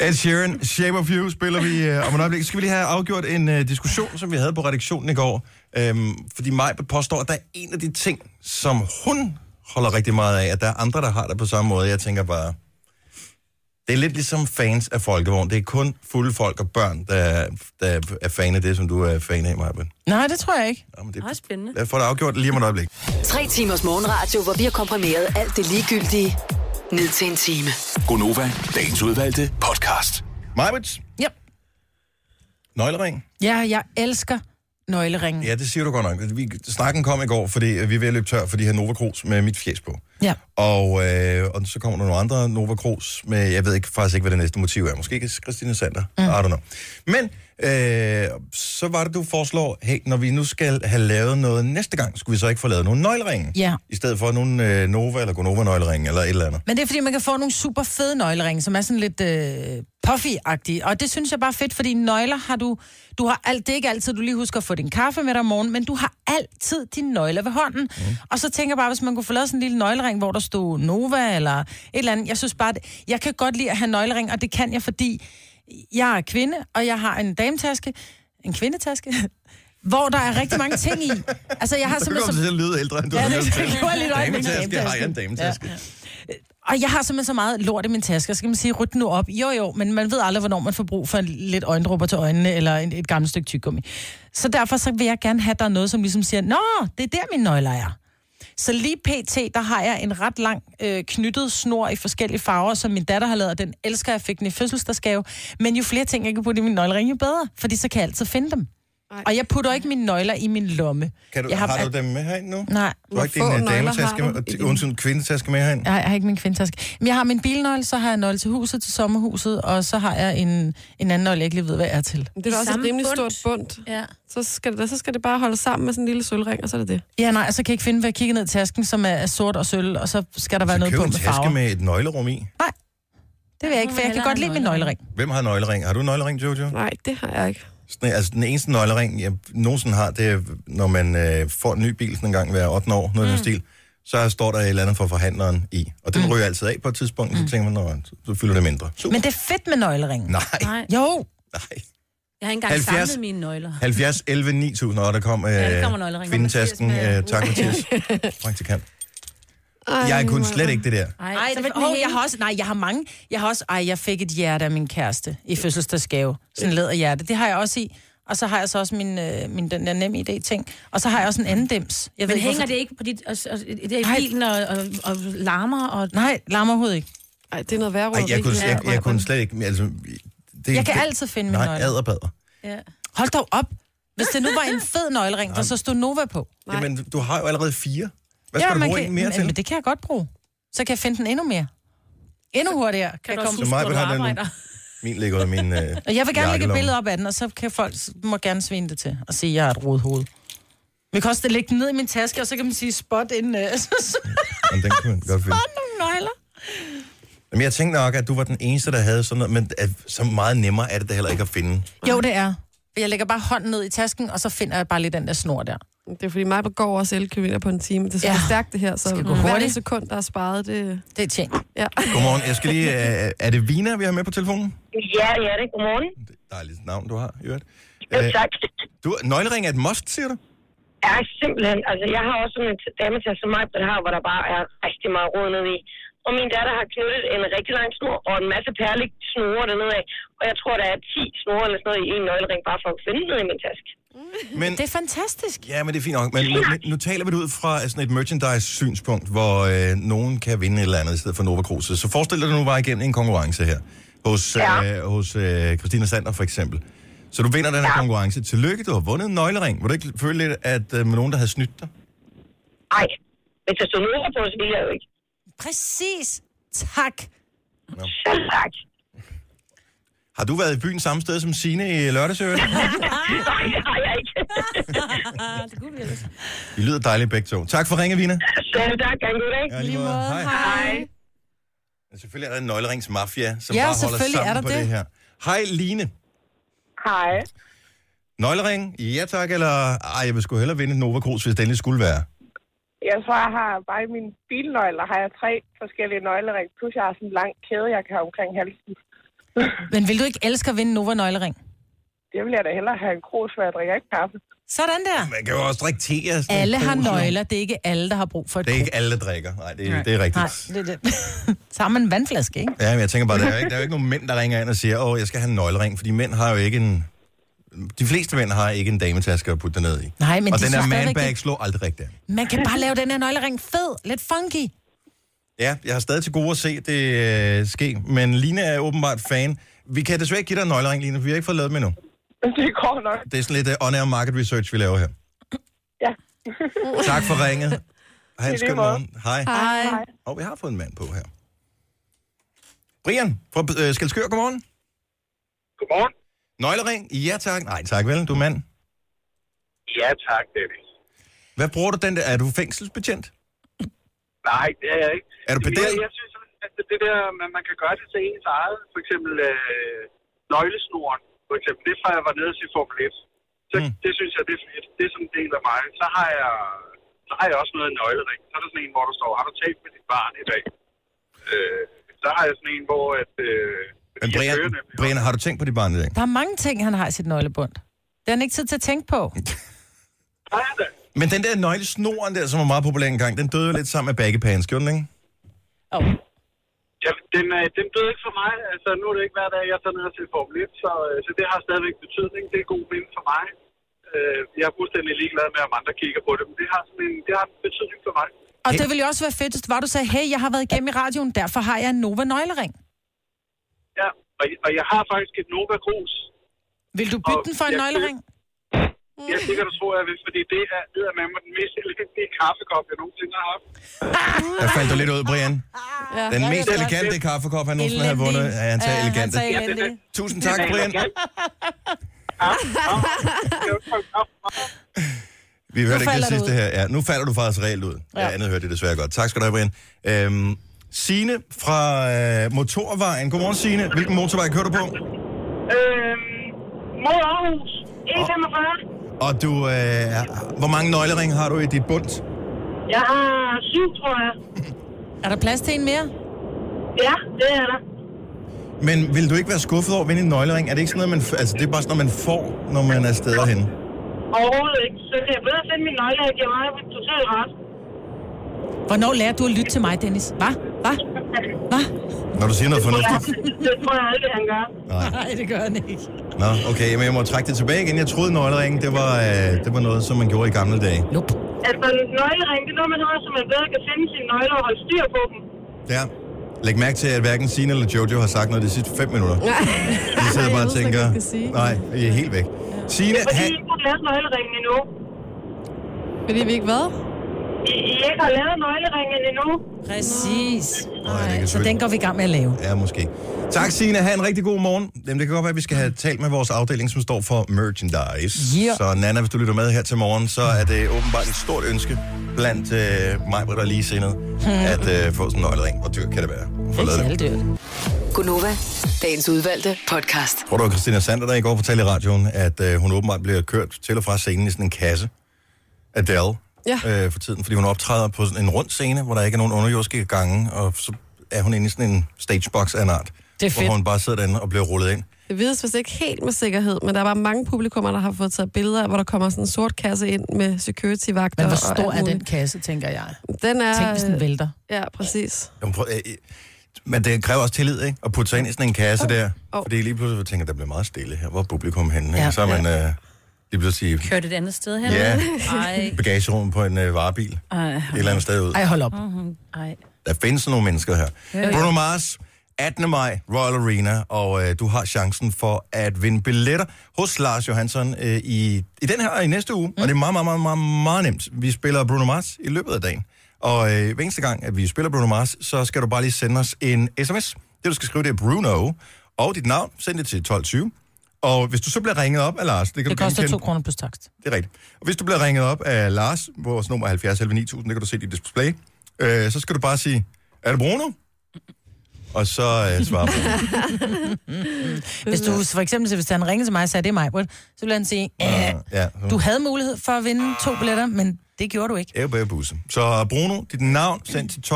Ed Sheeran, Shape of You spiller vi øh, om et øjeblik. Så Skal vi lige have afgjort en øh, diskussion, som vi havde på redaktionen i går? Øhm, fordi Maj påstår, at der er en af de ting, som hun holder rigtig meget af, at der er andre, der har det på samme måde. Jeg tænker bare, det er lidt ligesom fans af folkevogn. Det er kun fulde folk og børn, der, der er fan af det, som du er fan af, Maj. Nej, det tror jeg ikke. Jamen, Ej, spændende. Lad os få det afgjort lige om et øjeblik. Tre timers morgenradio, hvor vi har komprimeret alt det ligegyldige ned til en time. Gonova, dagens udvalgte podcast. Majbets, Ja. nøglering. ja, jeg elsker nøgleringen. Ja, det siger du godt nok. Vi, snakken kom i går, fordi øh, vi er ved at løbe tør for de her Nova Cruz med mit fjes på. Ja. Og, øh, og så kommer der nogle andre, Nova Cruz, med, jeg ved ikke, faktisk ikke, hvad det næste motiv er. Måske Christina Sander, mm. I don't know. Men øh, så var det, du foreslår, hey, når vi nu skal have lavet noget næste gang, skulle vi så ikke få lavet nogle nøgleringe? Ja. I stedet for nogle øh, Nova eller Gonova-nøgleringe eller et eller andet. Men det er, fordi man kan få nogle super fede nøgleringe, som er sådan lidt øh, puffy-agtige. Og det synes jeg bare er fedt, fordi nøgler har du... du har alt, det er ikke altid, du lige husker at få din kaffe med dig om morgenen, men du har altid dine nøgler ved hånden. Mm. Og så tænker jeg bare, hvis man kunne få lavet sådan en lille nøglering, hvor der stod Nova eller et eller andet. Jeg synes bare, at jeg kan godt lide at have nøglering, og det kan jeg, fordi jeg er kvinde, og jeg har en dametaske, en kvindetaske, hvor der er rigtig mange ting i. Altså, jeg har Så kommer simpelthen... du så- til at lyde ældre, end du Ja, er det- nødt til. det gjorde jeg lidt øjeblik. Dametaske, jeg har jeg en dametaske. Og jeg har simpelthen så meget lort i min taske, og så kan man sige, ryt den nu op. Jo, jo, men man ved aldrig, hvornår man får brug for en lidt øjendrupper til øjnene, eller en, et gammelt stykke tyggegummi. Så derfor så vil jeg gerne have, at der er noget, som ligesom siger, Nå, det er der, mine nøgler er. Så lige pt, der har jeg en ret lang øh, knyttet snor i forskellige farver, som min datter har lavet, og den elsker, jeg fik den i fødselsdagsgave. Men jo flere ting, jeg kan putte i min nøglering, jo bedre, fordi så kan jeg altid finde dem. Ej. Og jeg putter ikke mine nøgler i min lomme. Kan du, jeg har, har du dem med herind nu? Nej. Du har ikke Hvor få din øh, nøgler dametaske, har du i med- din- undskyld, kvindetaske med herind? Jeg har, jeg har ikke min kvindetaske. Men jeg har min bilnøgle, så har jeg en nøgle til huset, til sommerhuset, og så har jeg en, en anden nøgle, jeg ikke lige ved, hvad er til. Det er da også et rimelig bundt. stort bundt. Ja. Så, skal det, så skal det bare holde sammen med sådan en lille sølvring, og så er det det. Ja, nej, og så kan jeg ikke finde, hvad jeg kigger ned i tasken, som er, er sort og sølv, og så skal der være Så noget køb på en med taske farver. Med... med et nøglerum i. Det vil jeg ikke, for jeg kan godt lide min nøglering. Hvem har nøglering? Har du nøglering, Jojo? Nej, det har jeg ikke. Sådan, altså, den eneste nøglering, jeg nogensinde har, det er, når man øh, får en ny bil sådan en gang hver 8. år, noget mm. den stil, så står der et eller andet for forhandleren i. Og den mm. ryger altid af på et tidspunkt, mm. så tænker man, "Nå, så fylder det mindre. Super. Men det er fedt med nøglering. Nej, Nej, Jo, nej. jeg har ikke engang 70. samlet mine nøgler. 70, 11, 9000, og der kom øh, Ja, der kommer ja, nøglering. kvindetasken. Kommer Mathias Øh, med- tak, Mathias. Praktikant. Jeg kunne slet ikke det der. Ej, så vil den hænge. jeg har også, nej, jeg har mange. Jeg har også, ej, jeg fik et hjerte af min kæreste i fødselsdagsgave. Sådan et læderhjerte. Det har jeg også i. Og så har jeg så også min, øh, min den der nem idé ting. Og så har jeg også en anden dims. Jeg Men hænger hvorfor- det ikke på dit, og, og, det er Nej. i bilen og, og, og larmer? Og, Nej, larmer overhovedet ikke. Ej, det er noget værre Ej, jeg kunne, jeg, jeg kunne slet ikke... Altså, det, Jeg kan altid finde min Nej, nøgle. adderpadder. ja. Hold dog op. Hvis det nu var en fed nøglering, der så stod Nova på. Jamen, du har jo allerede fire. Hvad skal ja, du man bruge kan, en mere men, til? men det kan jeg godt bruge. Så kan jeg finde den endnu mere. Endnu hurtigere. Kan, Kan jeg du også komme. Så huske, mig hvor vil du have den nu. arbejder? Min ligger under min... Øh, Og jeg vil gerne lægge et jakkelomme. billede op af den, og så kan folk må gerne svine det til og sige, at jeg er et rodet hoved. Vi kan også lægge den ned i min taske, og så kan man sige spot inden. øh, så- så- Jamen, den kunne man godt finde. Spot nogle nøgler. Jamen, jeg tænkte nok, at du var den eneste, der havde sådan noget, men at, så meget nemmere er det da heller ikke at finde. Jo, det er. Jeg lægger bare hånden ned i tasken, og så finder jeg bare lige den der snor der. Det er fordi mig går også 11 km på en time. Det er så Ja. ja. stærkt det her, så Skal gå hver hurtigt. sekund, der er sparet, det... Det er tjent. Ja. Godmorgen, jeg skal lige... Øh, er det Vina, vi har med på telefonen? Ja, ja, det er godmorgen. Dejligt navn, du har, i øvrigt. Jo, Øh, tak. du, nøglering er et must, siger du? Ja, simpelthen. Altså, jeg har også sådan en dametaske som mig, den her, hvor der bare er rigtig meget råd nede i. Og min datter har knyttet en rigtig lang snor og en masse perlig snore dernede af. Og jeg tror, der er 10 snore eller sådan noget i en nøglering, bare for at finde den ned i min taske. Men, Det er fantastisk. ja, men det er fint nok. Men nu, nu taler vi det ud fra altså, sådan et merchandise-synspunkt, hvor øh, nogen kan vinde et eller andet i stedet for Nova Cruises. Så forestil dig, at du nu var igennem en konkurrence her. Hos, Ja. øh, hos øh, Christina Sander, for eksempel. Så du vinder den her konkurrence. Tillykke, du har vundet en nøglering. Var du ikke føle lidt, at øh, nogen, der havde snydt dig? Ej, hvis der stod noget på, så ville jeg jo ikke. Præcis. Tak. Selv tak. Har du været i byen samme sted som Sine i lørdags? i øvrigt? Nej, det har jeg ikke. Ah, I lyder dejligt begge to. Tak for ringe, Vina. Selv tak. Ha' en god dag. Ja, lige måde. Hej. Hej. Men Selvfølgelig er der en nøgleringsmafia, som Ja, bare holder selvfølgelig sammen er der på det. det. her. Hej, Line. Hej. Nøglering? Ja tak, eller... Ej, jeg vil sgu hellere vinde et Nova Cruz, hvis det endelig skulle være. Jeg tror, jeg har bare i mine bilnøgler, har jeg tre forskellige nøglering, plus jeg har sådan en lang kæde, jeg kan have omkring halsen. Men vil du ikke elske at vinde Nova nøglering? Det vil jeg da hellere have en krus, for jeg drikker ikke kaffe. Sådan der. Man kan jo også drikke te. af sådan en Alle har krus, jo. nøgler. Det er ikke alle, der har brug for et Det er krus. ikke alle, der drikker. Nej, det, er- det er rigtigt. Nej, det er det. Så har man en vandflaske, ikke? Ja, men jeg tænker bare, der er, jo ikke, der er jo ikke nogen mænd, der ringer ind og siger, åh, jeg skal have en nøglering, fordi mænd har jo ikke en... De fleste mænd har ikke en dametaske at putte den ned i. Nej, men og de den der synes stadigvæk manbag ikke- slår aldrig rigtigt. an. Man kan bare lave den her nøglering fed, lidt funky. Ja, jeg har stadig til gode at se det øh, ske, men Line er åbenbart fan. Vi kan desværre ikke give dig en nøglering, Line, for vi har ikke fået lavet med nu. Det går nok. øh, Det er sådan lidt uh, on-air market research, vi laver her. Ja. Tak for ringet. Ha' en I lige skøn måde. morgen. Hej. Hej. Hej. Og vi har fået en mand på her. Brian fra øh, Skelskør, godmorgen. Godmorgen. Nøglering? Ja tak. Nej tak vel, du er mand. Ja, tak, Dennis. Hvad bruger du den der? Er du fængselsbetjent? Nej, det er jeg ikke. Er du pedel? Jeg, jeg synes, at det der, man, man kan gøre det til ens eget, for eksempel øh, nøglesnoren, for eksempel, det er fra jeg var nede til Formel 1. Så mm. det synes jeg, det er fedt. Det er sådan en del af mig. Så har jeg, så har jeg også noget i nøglering. Så er der sådan en, hvor der står, har du talt med dit barn i dag? Øh, så har jeg sådan en, hvor at... Øh, Men Brian, Brian, har du tænkt på dit barn i dag? Der er mange ting, han har i sit nøglebund. Det har han ikke tid til at tænke på. Men den der nøglesnoren der, som var meget populær engang, den døde jo lidt sammen med baggepagens, gjorde den ikke? ja, den, øh, den døde ikke for mig. Altså, nu er det ikke hver dag, jeg tager ned til Formel 1, så, øh, så det har stadigvæk betydning. Det er god vinde for mig. Øh, jeg er fuldstændig ligeglad med, om andre kigger på det, men det har, sådan en, det har en betydning for mig. Og det ville jo også være fedt, hvis det var, du sagde, hey, jeg har været igennem i radioen, derfor har jeg en Nova nøglering. Ja, og, og jeg har faktisk et Nova Cruz. Vil du bytte den for en nøglering? Mm. Ja, det kan du tro, jeg vil, fordi det er eddermame den mest elegante kaffekop, jeg nogensinde har haft. Der faldt du lidt ud, Brian. Ja, Den jeg mest ved det. elegante kaffekop, han nogensinde havde vundet. Ja, han tager elegante. Tusind tak, Brian. Vi hørte ikke det falder du sidste ud. her. Ja, nu falder du faktisk reelt ud. Ja. Ja. andet hørte det desværre godt. Tak skal du have, Brian. Øhm, Signe fra øh, Motorvejen. Godmorgen, Signe. Hvilken motorvej kører du på? Øhm, mod Aarhus. E45. Og du, øh, hvor mange nøgleringe har du i dit bund? Jeg har syv, tror jeg. Er der plads til en mere? Ja, det er der. Men vil du ikke være skuffet over at vinde en nøglering? Er det ikke sådan noget, man, f- altså, det er bare sådan noget, man får, når man er steder henne? Overhovedet ikke. Så kan jeg bedre finde min nøgle, jeg giver mig totalt ret. Hvornår lærer du at lytte til mig, Dennis? Hvad? Hvad? Hvad? Når du siger noget fornuftigt. Det tror jeg aldrig, han gør. Nej, det gør han ikke. Nå, okay, men jeg må trække det tilbage igen. Jeg troede, nøgleringen, det var, øh, det var noget, som man gjorde i gamle dage. Nope. Altså, nøglering, det er noget, man har, så man bedre kan finde sine nøgler og holde styr på dem. Ja. Læg mærke til, at hverken Signe eller Jojo har sagt noget de sidste fem minutter. De sidder bare og tænker, nej, I er helt væk. Signe, Det er fordi, han, I ikke har lavet nøgleringen endnu. Fordi vi ikke hvad? I, I ikke har lavet nøgleringen endnu. Præcis. kan Så den går vi i gang med at lave. Ja, måske. Tak, Signe. Ha' en rigtig god morgen. Jamen, det kan godt være, at vi skal have talt med vores afdeling, som står for merchandise. Yeah. Så Nana, hvis du lytter med her til morgen, så er det åbenbart et stort ønske blandt øh, mig, Britt og lige senere, at øh, få sådan en nøglering. Hvor dyrt kan det være? Få lavet det. Gunova, dagens udvalgte podcast. Tror du, at Christina Sander, der i går fortalte i radioen, at øh, hun åbenbart bliver kørt til og fra scenen i sådan en kasse? Adele. Ja. Øh, for tiden, fordi hun optræder på sådan en rund scene, hvor der ikke er nogen underjordiske gange, og så er hun inde i sådan en stagebox af en art. Det er fedt. Hvor hun bare sidder derinde og bliver rullet ind. Det vides vist ikke helt med sikkerhed, men der er bare mange publikummer, der har fået taget billeder, hvor der kommer sådan en sort kasse ind med security-vagter. Men hvor og stor alt er muligt. den kasse, tænker jeg? Øh, Den er... Tænk, hvis den vælter. Ja, præcis. Jamen, prøv, øh, øh, men det kræver også tillid, ikke? At putte sig ind i sådan en kasse oh. der. Oh. Fordi lige pludselig tænker jeg, der bliver meget stille her. Hvor er publikum henne? Ja. Ja. Så er man øh, lige pludselig Kørt et andet sted her? Ja. Ej. i bagagerummet på en øh, varebil. Ej. Et eller andet sted ud. Ej, hold op. Mhm. Ej. Der findes sådan nogle mennesker her. Ja, ja. Bruno Mars, 18. maj, Royal Arena, og øh, du har chancen for at vinde billetter hos Lars Johansson øh, i, i den her og i næste uge. Mm. Og det er meget, meget, meget, meget, meget nemt. Vi spiller Bruno Mars i løbet af dagen. Og øh, hver eneste gang, at vi spiller Bruno Mars, så skal du bare lige sende os en sms. Det, du skal skrive, det er Bruno og dit navn. Send det til 1220. Og hvis du så bliver ringet op af Lars, det kan Det du koster genkende. to kroner plus takst. Det er rigtigt. Og hvis du bliver ringet op af Lars, vores nummer er 70 11 9000, det kan du se i dit display, øh, så skal du bare sige, er det Bruno? Og så øh, svarer Bruno. Hvis du for eksempel, hvis han ringede til mig og sagde, det er mig, Britt, så ville han sige, "Æh, ja, du havde mulighed for at vinde to billetter, men det gjorde du ikke. Ebbe Busse. Så øh, Bruno, dit navn sendt til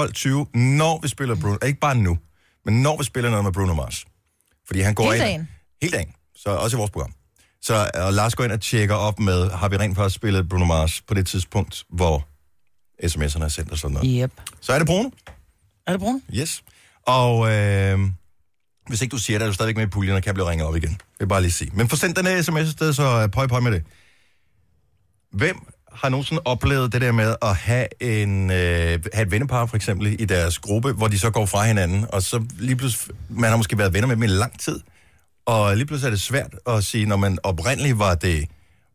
12.20, når vi spiller Bruno. Ikke bare nu, men når vi spiller noget med Bruno Mars. Fordi han går Hele ind... dagen? Hele dagen. Så også i vores program. Så øh, og Lars går ind og tjekker op med, har vi rent faktisk spillet Bruno Mars på det tidspunkt, hvor sms'erne er sendt og sådan noget. Yep. Så er det Bruno. Er det brun? Yes. Og øh, hvis ikke du siger det, er du stadigvæk med i puljen og kan blive ringet op igen. Det vil jeg bare lige sige. Men få sendt den her sms afsted, så øh, pøj pøj med det. Hvem har nogensinde oplevet det der med at have, en, øh, have et vennepar, for eksempel, i deres gruppe, hvor de så går fra hinanden, og så lige pludselig, man har måske været venner med dem i lang tid, og lige pludselig er det svært at sige, når man oprindeligt var det,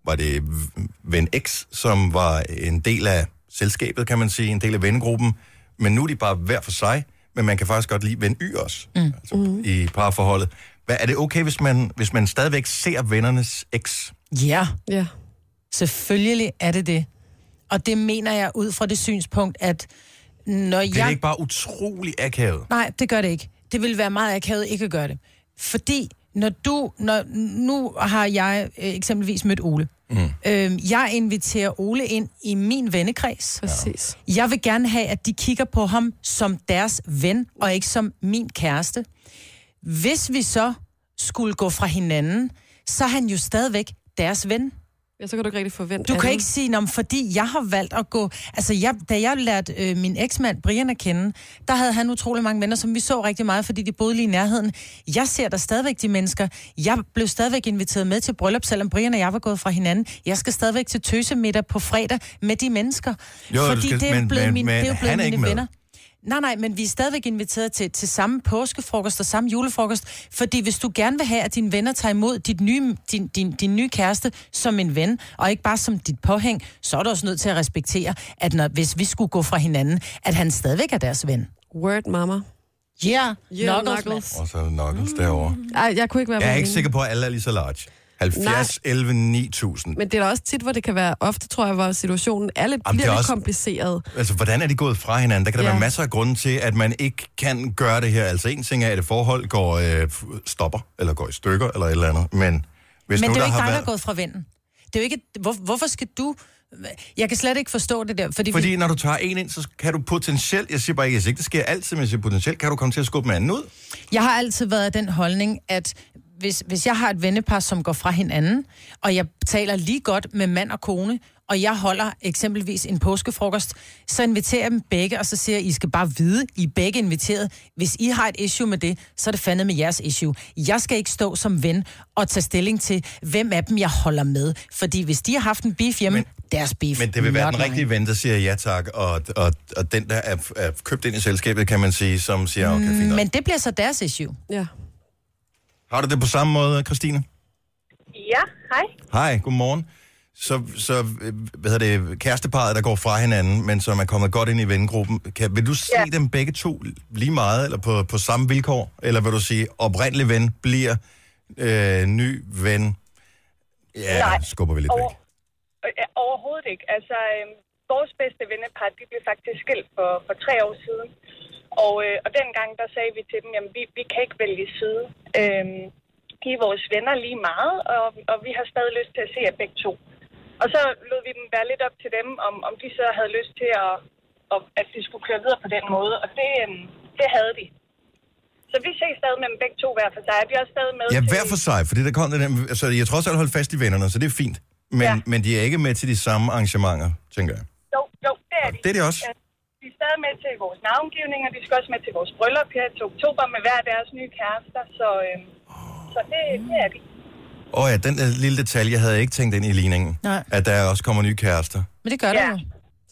var det v- ven X, som var en del af selskabet, kan man sige, en del af vennegruppen, men nu er de bare hver for sig, men man kan faktisk godt lide ven Y også altså Mm. i parforholdet. Hvad, er det okay, hvis man, hvis man stadigvæk ser vennernes eks? Ja. ja. Selvfølgelig er det det. Og det mener jeg ud fra det synspunkt, at når Det er jeg... ikke bare utrolig akavet. Nej, det gør det ikke. Det vil være meget akavet ikke at gøre det. Fordi når du... Når, nu har jeg øh, eksempelvis mødt Ole. Mm. Øh, jeg inviterer Ole ind i min vennekreds. Præcis. Jeg vil gerne have, at de kigger på ham som deres ven, og ikke som min kæreste. Hvis vi så skulle gå fra hinanden, så er han jo stadigvæk deres ven. Ja, så kan du ikke rigtig forvente Du kan andet. ikke sige, om fordi jeg har valgt at gå... Altså, jeg, da jeg lærte øh, min eksmand Brian at kende, der havde han utrolig mange venner, som vi så rigtig meget, fordi de boede lige i nærheden. Jeg ser der stadigvæk de mennesker. Jeg blev stadigvæk inviteret med til bryllup, selvom Brian og jeg var gået fra hinanden. Jeg skal stadigvæk til tøsemiddag på fredag med de mennesker. Jo, du fordi skal- det er men- jo blevet, men- min, men det er jo han blevet er mine ikke med. venner. Nej, nej, men vi er stadigvæk inviteret til, til samme påskefrokost og samme julefrokost, fordi hvis du gerne vil have, at dine venner tager imod dit nye, din, din, din nye kæreste som en ven, og ikke bare som dit påhæng, så er du også nødt til at respektere, at når, hvis vi skulle gå fra hinanden, at han stadigvæk er deres ven. Word, mama. Yeah, Yeah, knuckles, knuckles. Og så er der Knuckles derovre. Ej, jeg kunne ikke være Jeg er mere ikke enig. sikker på, at alle er lige så large. 70, 11, 9000. Men det er da også tit, hvor det kan være ofte, tror jeg, hvor situationen er lidt, Jamen, Jamen, det bliver er lidt også- kompliceret. Altså, hvordan er de gået fra hinanden? Der kan der Ja. være masser af grunde til, at man ikke kan gøre det her. Altså, en ting er, at et forhold går, øh, f- stopper, eller går i stykker, eller et eller andet. Men hvis Men nu det der er jo ikke har dig, der været... er gået fra vennen. Det er jo ikke, hvor, hvorfor skal du... Jeg kan slet ikke forstå det der, fordi... Fordi når du tager en ind, så kan du potentielt, jeg siger bare ikke, jeg siger ikke, det sker altid, men jeg siger potentielt, kan du komme til at skubbe en anden ud. Jeg har altid været af den holdning, at hvis, hvis jeg har et vennepar, som går fra hinanden, og jeg taler lige godt med mand og kone, og jeg holder eksempelvis en påskefrokost, så inviterer jeg dem begge, og så siger jeg, I skal bare vide, I er begge inviteret. Hvis I har et issue med det, så er det fandme med jeres issue. Jeg skal ikke stå som ven og tage stilling til, hvem af dem jeg holder med. Fordi hvis de har haft en beef hjemme, men, deres beef. Men det vil være not den mine. rigtige ven, der siger ja tak, og, og, og den, der er, er købt ind i selskabet, kan man sige, som siger, okay, fint. nok. Men det bliver så deres issue. Ja. Har du det på samme måde, Christine? Ja, hej. Hej, godmorgen. Så, så øh, hvad hedder det, kæresteparet, der går fra hinanden, men som er kommet godt ind i vengruppen, kan, vil du se ja. dem begge to lige meget, eller på, på samme vilkår? Eller vil du sige, oprindelig ven bliver øh, ny ven? Ja, Nej. skubber vi lidt væk. Over, øh, overhovedet ikke. Altså, øh, vores bedste vennepar, de blev faktisk skilt for, for tre år siden. Og, øh, og dengang, der sagde vi til dem, jamen, vi, vi kan ikke vælge side. Øh, de er vores venner lige meget, og, og vi har stadig lyst til at se jer begge to. Og så lod vi dem være lidt op til dem, om, om de så havde lyst til, at, at, at de skulle køre videre på den måde. Og det, øh, det havde de. Så vi ses stadig med dem begge to hver for sig. Vi er også stadig med Ja, til- hver for sig, fordi der kom den her, altså, jeg tror også, at holde fast i vennerne, så det er fint. Men, ja. men de er ikke med til de samme arrangementer, tænker jeg. Jo, jo, det er de. det er de også. Ja. De er stadig med til vores navngivning, og de skal også med til vores bryllup her til oktober med hver deres nye kærester, så, øhm, så det, det er de. Åh oh, ja, den der lille detalje, jeg havde ikke tænkt ind i ligningen. Nej. At der også kommer nye kærester. Men det gør ja. der jo.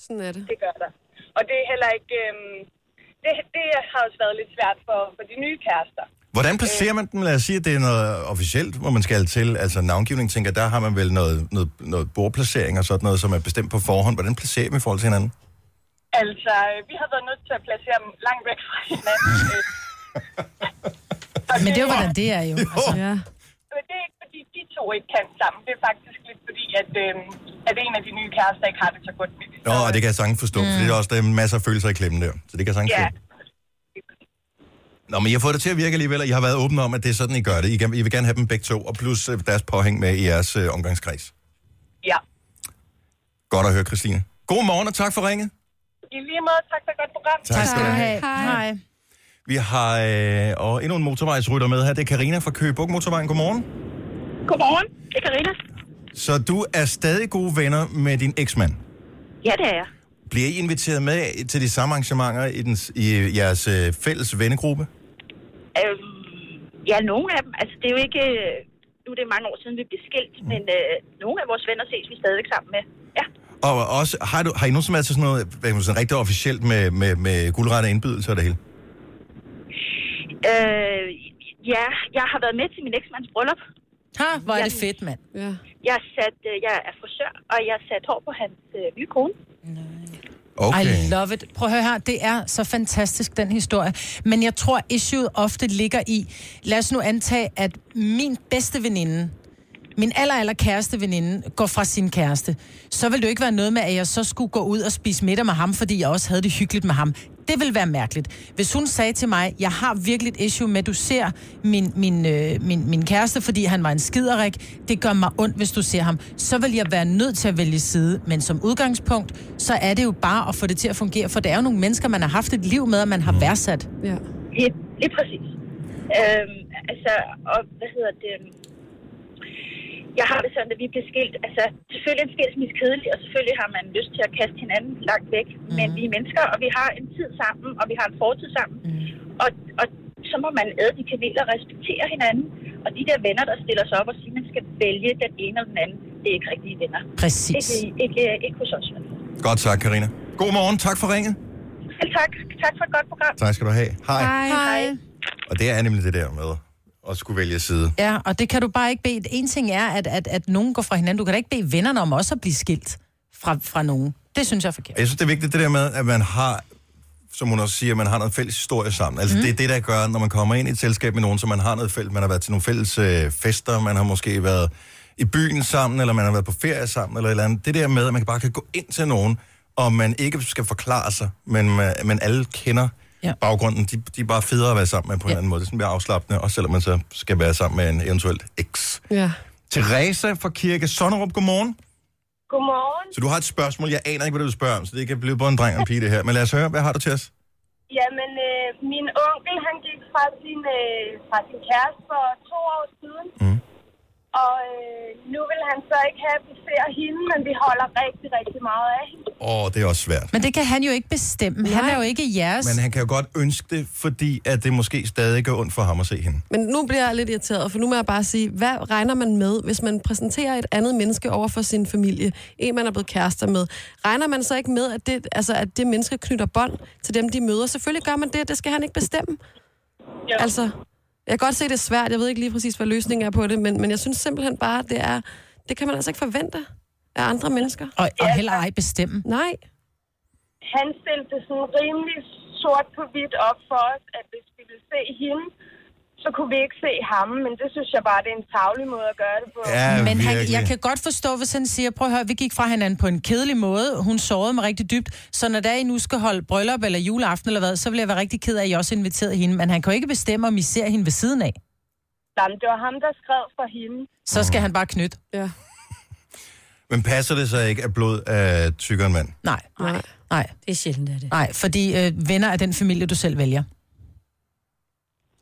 Sådan er det. Det gør der. Og det er heller ikke... Øhm, det, det har også været lidt svært for, for de nye kærester. Hvordan placerer man dem? Lad os sige, at det er noget officielt, hvor man skal til. Altså navngivning, tænker jeg, der har man vel noget, noget, noget bordplacering og sådan noget, som er bestemt på forhånd. Hvordan placerer man i forhold til hinanden? Altså, øh, vi har været nødt til at placere dem langt væk fra hinanden. Øh, Men det er jo, hvordan det er jo. Altså, ja. Men det er ikke, fordi de to ikke kan sammen. Det er faktisk lidt fordi, at, øhm, at en af de nye kærester ikke har det så godt med det. Nå, og det kan jeg sagtens forstå, mm. for det er også der er masser af følelser i klemmen der. Så det kan jeg sagtens Ja. ja. Nå, men jeg får det til at virke alligevel, og jeg har været åben om, at det er sådan, I gør det. I, kan, I vil gerne have dem begge to, og plus øh, deres påhæng med i jeres øh, omgangskreds. Ja. Godt at høre, Christine. God morgen, og tak for ringet. I lige måde, tak for et godt program. Tak skal du have. Hej. Vi har øh, og endnu en motorvejsrytter med her. Det er Karina fra Køge Bugt Motorvejen. Godmorgen. Godmorgen, det er Karina. Så du er stadig gode venner med din eksmand. Ja, det er jeg. Bliver I inviteret med til de samme arrangementer i, den, i jeres øh, fælles vennegruppe? Øh, ja, nogle af dem. Altså, det er jo ikke... øh, Nu er det mange år siden, vi blev skilt, men øh, nogle af vores venner ses vi stadigvæk sammen med. Og også, har, du, har I nogen som er til sådan noget hvad kan man sige, rigtig officielt med, med, med guldrette indbydelser og det hele? Øh, ja, jeg har været med til min eksmands bryllup. Ha, hvor er det fedt, mand. Ja. Jeg, sat, øh, jeg er frisør, og jeg satte hår på hans øh, nye kone. Okay. I love it. Prøv at høre her, det er så fantastisk, den historie. Men jeg tror, issueet ofte ligger i, lad os nu antage, at min bedste veninde, min aller, aller kæreste veninde, går fra sin kæreste. Så vil det jo ikke være noget med, at jeg så skulle gå ud og spise middag med ham, fordi jeg også havde det hyggeligt med ham. Det vil være mærkeligt. Hvis hun sagde til mig, jeg har virkelig et issue med, at du ser min, min, øh, min, min kæreste, fordi han var en skiderik, det gør mig ondt, hvis du ser ham, så vil jeg være nødt til at vælge side. Men som udgangspunkt, så er det jo bare at få det til at fungere, for det er jo nogle mennesker, man har haft et liv med, og man har værdsat. Ja. Lige, lige præcis. Øhm, altså, og hvad hedder det? Jeg har det sådan, at vi bliver skilt. Altså, selvfølgelig er en skilsmisse kedelig, og selvfølgelig har man lyst til at kaste hinanden langt væk. Mm. Men vi er mennesker, og vi har en tid sammen, og vi har en fortid sammen. Mm. Og, og så må man æde de kaneler og respektere hinanden. Og de der venner, der stiller sig op og siger, at man skal vælge den ene eller den anden, det er ikke rigtige venner. Præcis. Ikke, ikke, ikke hos os. Godt sagt, Karina. God morgen, tak for ringet. Selv tak. Tak for et godt program. Tak skal du have. Hej. Hej. Og det er nemlig det der med at skulle vælge side. Ja, og det kan du bare ikke bede. En ting er, at, at, at nogen går fra hinanden. Du kan da ikke bede vennerne om også at blive skilt fra, fra nogen. Det synes jeg er forkert. Og Jeg synes, det er vigtigt det der med, at man har, som hun også siger, man har noget fælles historie sammen. Altså mm. det er det, der gør, når man kommer ind i et selskab med nogen, så man har noget fælles. Man har været til nogle fælles øh, fester, man har måske været i byen sammen, eller man har været på ferie sammen, eller et eller andet. Det der med, at man bare kan gå ind til nogen, og man ikke skal forklare sig, men, man, men alle kender ja. baggrunden. De, de er bare federe at være sammen med på en ja. anden måde. Det er sådan mere afslappende, også selvom man så skal være sammen med en eventuelt eks. Ja. Teresa fra Kirke Sonnerup, godmorgen. Godmorgen. Så du har et spørgsmål, jeg aner ikke, hvad du vil spørge om, så det kan blive både en dreng og en pige det her. Men lad os høre, hvad har du til os? Jamen, øh, min onkel, han gik fra sin, øh, fra sin kæreste for to år siden. Mm. Og øh, nu vil han så ikke have, at vi ser hende, men vi holder rigtig, rigtig meget af hende. Åh, oh, det er også svært. Men det kan han jo ikke bestemme. Nej. Han er jo ikke jeres. Men han kan jo godt ønske det, fordi at det måske stadig gør ondt for ham at se hende. Men nu bliver jeg lidt irriteret, for nu må jeg bare sige, hvad regner man med, hvis man præsenterer et andet menneske over for sin familie, en man er blevet kærester med? Regner man så ikke med, at det, altså, at det menneske knytter bånd til dem, de møder? Selvfølgelig gør man det, det skal han ikke bestemme. Ja. Altså, jeg kan godt se, det er svært. Jeg ved ikke lige præcis, hvad løsningen er på det, men, men jeg synes simpelthen bare, det er, det kan man altså ikke forvente af andre mennesker. Og, og heller ej bestemme. Nej. Han stillede det sådan rimelig sort på hvidt op for os, at hvis vi ville se hende, så kunne vi ikke se ham, men det synes jeg bare, det er en tavlig måde at gøre det på. men han, jeg kan godt forstå, hvis han siger, prøv at høre, vi gik fra hinanden på en kedelig måde, hun sårede mig rigtig dybt, så når der I nu skal holde bryllup eller juleaften eller hvad, så vil jeg være rigtig ked af, at I også inviterede hende, men han kan jo ikke bestemme, om I ser hende ved siden af. Jamen, det var ham, der skrev for hende. Så skal han bare knytte. Ja. Men passer det så ikke, at blod er tykkere end vand? Nej. Nej. Nej. Det er sjældent, det er det. Nej, fordi øh, venner er den familie, du selv vælger.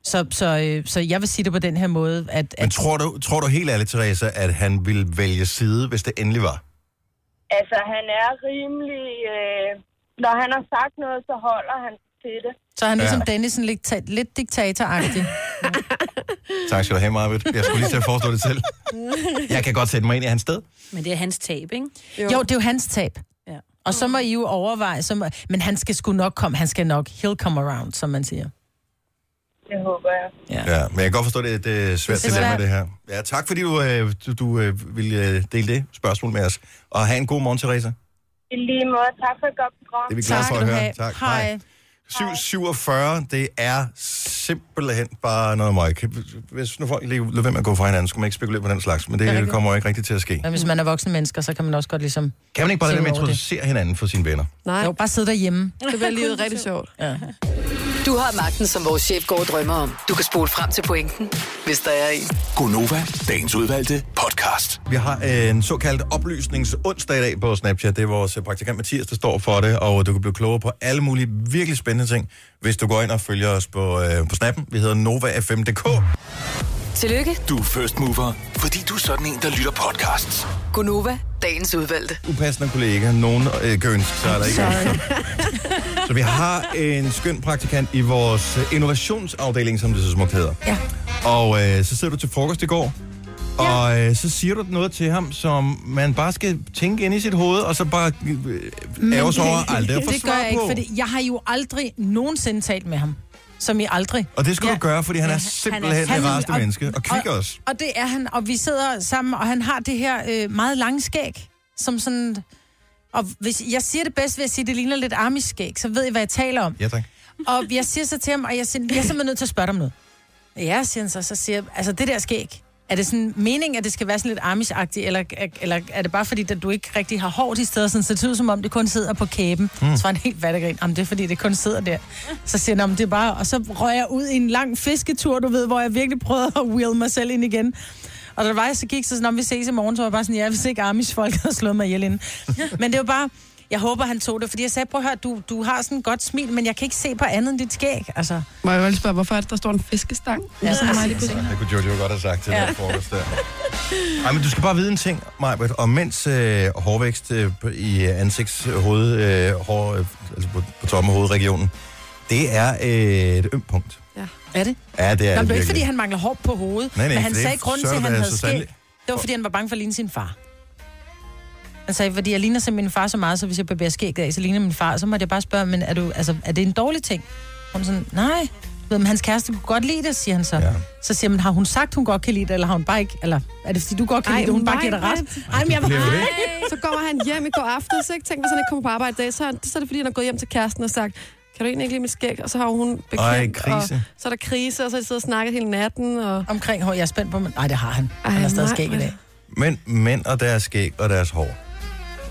Så, så, øh, så jeg vil sige det på den her måde, at... Men tror du, tror du helt ærligt, Teresa, at han ville vælge side, hvis det endelig var? Altså, han er rimelig... Øh, når han har sagt noget, så holder han til det. Så er han ligesom Ja. ja. Dennis, sådan lidt, ta- lidt diktatoragtig. Tak skal du have, Marvitt. Jeg skulle lige til at forestå det selv. Jeg kan godt sætte mig ind i hans sted. Men det er hans tab, ikke? Jo. jo, det er jo hans tab. Ja. Og så må I jo overveje, så må, men han skal sgu nok komme, han skal nok, he'll come around, som man siger. Det håber jeg. Ja. ja men jeg kan godt forstå, det er et øh, svært Det er dilemma, svært. det her. Ja, tak fordi du, øh, du, du øh, ville øh, dele det spørgsmål med os. Og have en god morgen, Teresa. I lige måde, tak for et godt program. Det er vi glade for at høre. Tak. Hej. 747, det er simpelthen bare noget møg. Hvis nu folk lige lød være med at gå fra hinanden, skulle man ikke spekulere på den slags, men det, Det er det rigtigt. kommer jo ikke rigtigt til at ske. Men hvis man er voksne mennesker, så kan man også godt ligesom... Kan man ikke bare lade tænke dem over det. introducere hinanden for sine venner? Nej. Jo, bare sidde derhjemme. Det bliver livet rigtig sjovt. Ja. Du har magten, som vores chef går og drømmer om. Du kan spole frem til pointen, hvis der er en. Gonova, dagens udvalgte podcast. Vi har øh, en såkaldt oplysningsonsdag i dag på Snapchat. Det er vores øh, praktikant Mathias, der står for det, og du kan blive klogere på alle mulige virkelig spændende ting, hvis du går ind og følger os på, øh, på snappen. Vi hedder NovaFM.dk. Tillykke, Du er first mover, fordi du er sådan en, der lytter podcasts. Gunova, dagens udvalgte. Upassende kollega. Nogen øh, kan ønske sig, eller ikke ønske sig. Så vi har en skøn praktikant i vores øh, innovationsafdeling, som det så smukt hedder. Ja. Og øh, så sidder du til frokost i går, og øh, så siger du noget til ham, som man bare skal tænke ind i sit hoved, og så bare øh, ærge sig over aldrig at få Mm. Det svar gør jeg ikke, på. fordi jeg har jo aldrig nogensinde talt med ham. Som I aldrig. Og det skal Ja. du gøre, fordi han er Ja, simpelthen han er, han det er- rareste og- menneske, og kvik også. Og det er han, og vi sidder sammen, og han har det her øh, meget lange skæg, som sådan... Og hvis jeg siger det bedst ved at sige, at det ligner lidt amiskæg, så ved I, hvad jeg taler om. Ja, tak. Og jeg siger så til ham, og jeg, siger, jeg er simpelthen nødt til at spørge dig om noget. Ja, siger han så, så siger jeg, altså det der skæg, er det sådan meningen, at det skal være sådan lidt amish eller, eller er det bare fordi, at du ikke rigtig har hår de steder, sådan, så det ser ud som om, det kun sidder på kæben? Mm. Så var han helt vattegrin, om det er fordi, det kun sidder der. Så siger han, om det er bare, og så røg jeg ud i en lang fisketur, du ved, hvor jeg virkelig prøvede at wheel mig selv ind igen. Og der var jeg så gik, så sådan, om vi ses i morgen, så var jeg bare sådan, ja, hvis ikke Amish folk havde slået mig ihjel inden. Men det var bare, jeg håber, han tog det, fordi jeg sagde, prøv at høre, du, du har sådan et godt smil, men jeg kan ikke se på andet end dit skæg, altså. Må jeg jo lige spørge, hvorfor er det, der står en fiskestang? Ja, så præcis. meget lige Altså, Det kunne Jojo godt have sagt til ja. Ja. den frokost der. Ej, men du skal bare vide en ting, Majbert, og mens øh, hårvækst øh, på- i ansigtshoved, øh, hår, øh, altså på, på toppen af hovedregionen, det er øh, et ømt punkt. Ja. Er det? Ja, det er det Nå, men det er ikke, virkelig. fordi han mangler hår på hovedet, Nej, nej, men for han det sagde grunden til, at sørger han da havde så skæg. sandelig. Det var, fordi han var bange for at ligne sin far. Han sagde, fordi jeg ligner simpelthen min far så meget, så hvis jeg barberer skæg af, så ligner min far. Så måtte jeg bare spørge, men er, du, altså, er det en dårlig ting? Hun sådan, nej. Du ved, Men hans kæreste kunne godt lide det, siger han så. Ja. Så siger man, har hun sagt, hun godt kan lide det, eller har hun bare ikke? Eller er det, fordi du godt kan Ej, lide det, hun bare nej, giver dig ret? hvad? Ej, men jeg var... Bliver Ej. Så kommer han hjem i går aftes, ikke? Tænk, hvis han ikke kommer på arbejde i dag, så er, han, så er det fordi, han er gået hjem til kæresten og sagt, kan du egentlig ikke lide mit skæg? Og så har hun bekendt, Ej, krise. og så er der krise, og så har de siddet og snakket hele natten. Og... Omkring hår, jeg er spændt på, men... Nej, det har han. Ej, Han har stadig nej, skæg i dag. Men mænd og deres skæg og deres hår.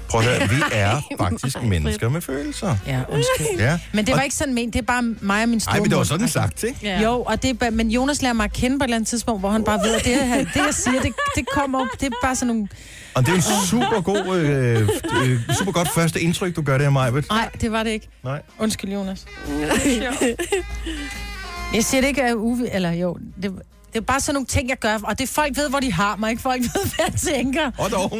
Prøv at høre, vi er faktisk mennesker med følelser. Ja, undskyld. Ja. Men det var Og- ikke sådan ment, det er bare mig og min Altså, store Ej, men det var sådan sagt, ikke? Ja. Jo, og det er, bare- men Jonas lærer mig at kende på et eller andet tidspunkt, hvor han bare ved, at det, her, det jeg siger, det, det kommer op. Det er bare sådan nogle... Og det er en super god, øh, øh, super godt første indtryk, du gør det af Majbert. Nej, det var det ikke. Nej. Undskyld, Jonas. Jeg siger det ikke af Uwe, eller jo, det, det er bare sådan nogle ting, jeg gør, og det er folk ved, hvor de har mig, ikke folk ved, hvad jeg tænker. Og dog.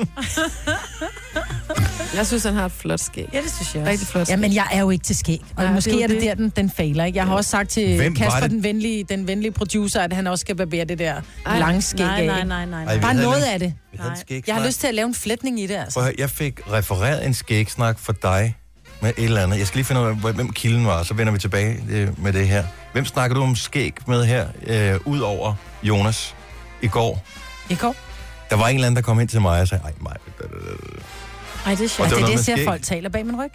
Jeg synes, han har et flot skæg. Ja, det synes jeg Rigtig flot skæg. Ja, men jeg er jo ikke til skæg, og Nej, Nej, det måske er jo er det, det. der, den, den fejler. Ikke? Jeg har også sagt til Hvem var Kasper, det? den venlige, den venlige producer, at han også skal barbere det der Ej, lange skæg nej, af. nej, nej, nej, nej. Ej, vi Bare havde noget en- af det. vi havde en skægsnak. Jeg har lyst til at lave en flætning i det, altså. Prøv at høre, jeg fik refereret en skægsnak for dig med et eller andet. Jeg skal lige finde ud af, hvor- hvem kilden var, så vender vi tilbage øh, med det her. Hvem snakker du om skæg med her, øh, ud over Jonas i går? I går? Der var en eller anden, der kom ind til mig og sagde, ej, Majbert, da, da, da, da." Ej, det er Og det sjovt. var Altså, det noget er det, med jeg ser, skæg. at folk taler bag min ryg.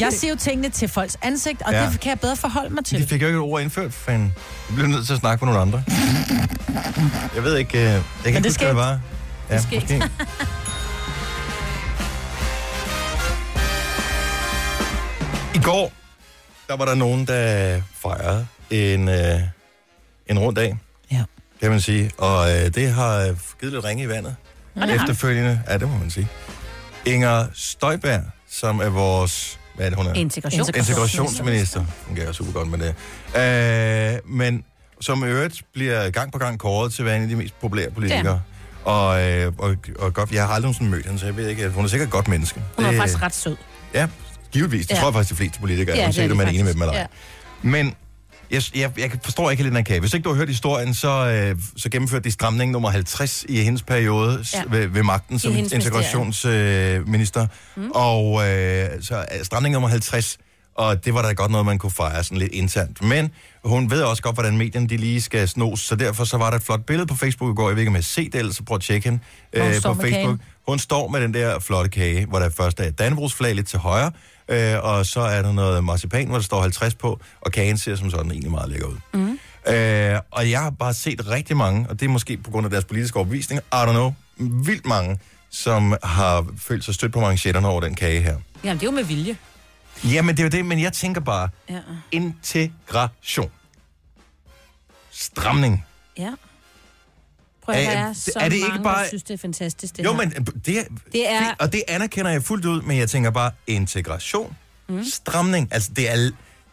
Jeg ser jo tingene til folks ansigt, og Ja. ja. det kan jeg bedre forholde mig til. De fik jo ikke et ord indført, for fanden. Jeg blev nødt til at snakke med nogle andre. Jeg ved ikke, øh, jeg kan ikke det huske, hvad det skægt. var. Ja, Det er skægt. måske. I går, der var der nogen, der fejrede en, øh, en rund dag, Ja. kan man sige. Og øh, det har øh, givet lidt ringe i vandet. det har det. Efterfølgende, ja, det må man sige. Inger Støjberg, som er vores... Hvad er det, hun er? Integration. Integrationsminister. Hun gør super godt med det. Øh, men som i øvrigt bliver gang på gang kåret til at være en af de mest populære politikere. Og, øh, og, og godt, jeg har aldrig sådan mødt hende, så jeg ved ikke, at hun er sikkert et godt menneske. Hun er Det- faktisk ret sød. Ja, givetvis. Det ja. Ja. tror jeg faktisk, de fleste politikere, Ja, ja, det er uanset de om man er enig med faktisk. dem eller ej. Ja. Men jeg, jeg, jeg forstår ikke helt den her kage. Hvis ikke du har hørt historien, så, øh, så gennemførte de stramning nummer 50 i hendes periode ja. Ja. ved, ved magten I som hendes integrationsminister. Øh, minister. mm. Og øh, så øh, stramning nummer 50, og det var da godt noget, man kunne fejre sådan lidt internt. Men hun ved også godt, hvordan medierne de lige skal snos, så derfor så var der et flot billede på Facebook i går. Jeg ved ikke, om jeg har set det, ellers så prøv at tjekke hende Hvor hun øh, står på med Facebook. kagen. Hun står med den der flotte kage, hvor der først er et Dannebrogsflag lidt til højre, øh, og så er der noget marcipan, hvor der står 50 på, og kagen ser som sådan egentlig meget lækker ud. Mhm. Mm. Øh, og jeg har bare set rigtig mange, og det er måske på grund af deres politiske overbevisning, I don't know, vildt mange, som har følt sig stødt på manchetterne over den kage her. Jamen, det er jo med vilje. Jamen, det er jo det, men jeg tænker bare, Ja. integration. Stramning. ja. Prøv at Er- høre, der er så er det ikke mange, ikke bare- bare... synes, det er fantastisk, det jo, her. men øh, det er, Det er- fint, og det anerkender jeg fuldt ud, men jeg tænker bare, integration, mm. stramning, altså det er,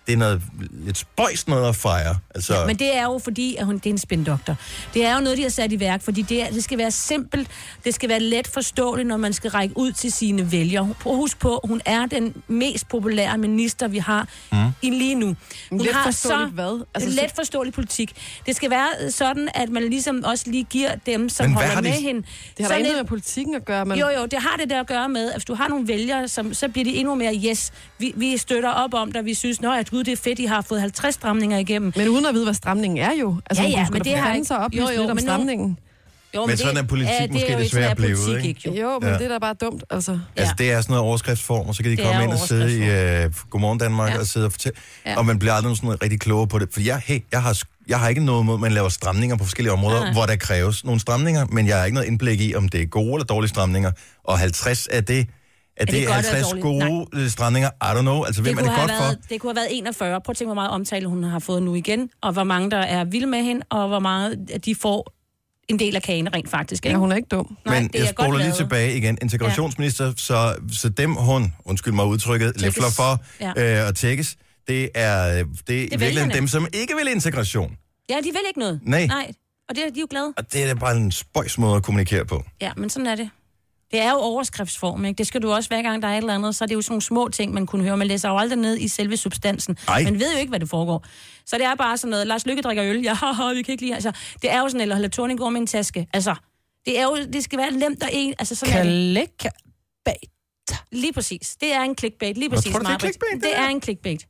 det er noget lidt spøjst noget at fejre. Altså, Men det er jo fordi, at hun, det er en spindoktor. Det er jo noget, de har sat i værk, fordi det, er, det skal være simpelt, det skal være let forståeligt, når man skal række ud til sine vælgere. Hun- Prøv at huske på, hun er den mest populære minister, vi har mm. i lige nu. Hun Let har forståeligt så hvad? Altså, Altså, så- let forståelig politik. Det skal være øh, sådan, at man ligesom også lige giver dem, som Men hvad holder har de- med hende. Det har da sådan intet en- med politikken at gøre, men... jo, jo, det har det der at gøre med, at hvis du har nogle vælgere, som, så bliver de endnu mere, yes, vi, vi støtter op om dig, vi synes, nå, at gud, det er fedt, I har fået 50 stramninger igennem. Men uden at vide, hvad stramningen er jo. Altså, hun kunne sgu da blande sig og oplyse lidt om men nu- stramningen. Jo, men, men sådan er politik ja, måske desværre blevet, ikke? jo. jo, men Ja. ja. det er da bare dumt, altså. Ja. Altså, det er sådan noget overskriftsform, og så kan de Det komme er ind og sidde i øh, Godmorgen Danmark Ja. og sidde og fortælle. Ja. Ja. Og man bliver aldrig sådan rigtig klogere på det. For jeg, hey, jeg, har, sk- jeg har ikke noget imod, at man laver stramninger på forskellige områder, Nej. hvor der kræves nogle stramninger, men jeg har ikke noget indblik i, om det er gode eller dårlige stramninger. Og 50 af det, er det det, godt eller 50 dårligt? gode øh, stramninger? I don't know. Altså, hvem er det have godt for? været, det kunne have været 41. Prøv at tænke, hvor meget omtale hun har fået nu igen, og hvor mange, der er vilde med hende, og hvor meget at de får en del af kagen rent faktisk. Ikke? Ja, hun er ikke dum. Nej, Men det er jeg godt spoler lige lavet. tilbage igen. Integrationsminister, ja. så, så dem hun, undskyld mig udtrykket, Tækkes. læfler for Ja. øh, og tækkes, det er, øh, det er i virkeligheden vælgerne. dem, som ikke vil integration. Ja, de vil ikke noget. Nej. Nej. Og det er de er jo glade. Og det er da bare en spøjs måde at kommunikere på. Ja, men sådan er det. Det er jo overskriftsform, ikke? Det skal du også, hver gang der er et eller andet, så er det jo sådan nogle små ting, man kunne høre. Man læser jo aldrig ned i selve substansen. Ej. Man ved jo ikke, hvad det foregår. Så det er bare sådan noget, Lars Lykke drikker øl, ja, haha, vi kan ikke lide, altså, det er jo sådan, eller Helle Thorning går med en taske, altså, det er jo, det skal være lemt og en, altså sådan Clickbait. Lige præcis. Det er en clickbait, lige Hvad præcis, tror du, det er Maj-Brit. clickbait, det det der? er en clickbait.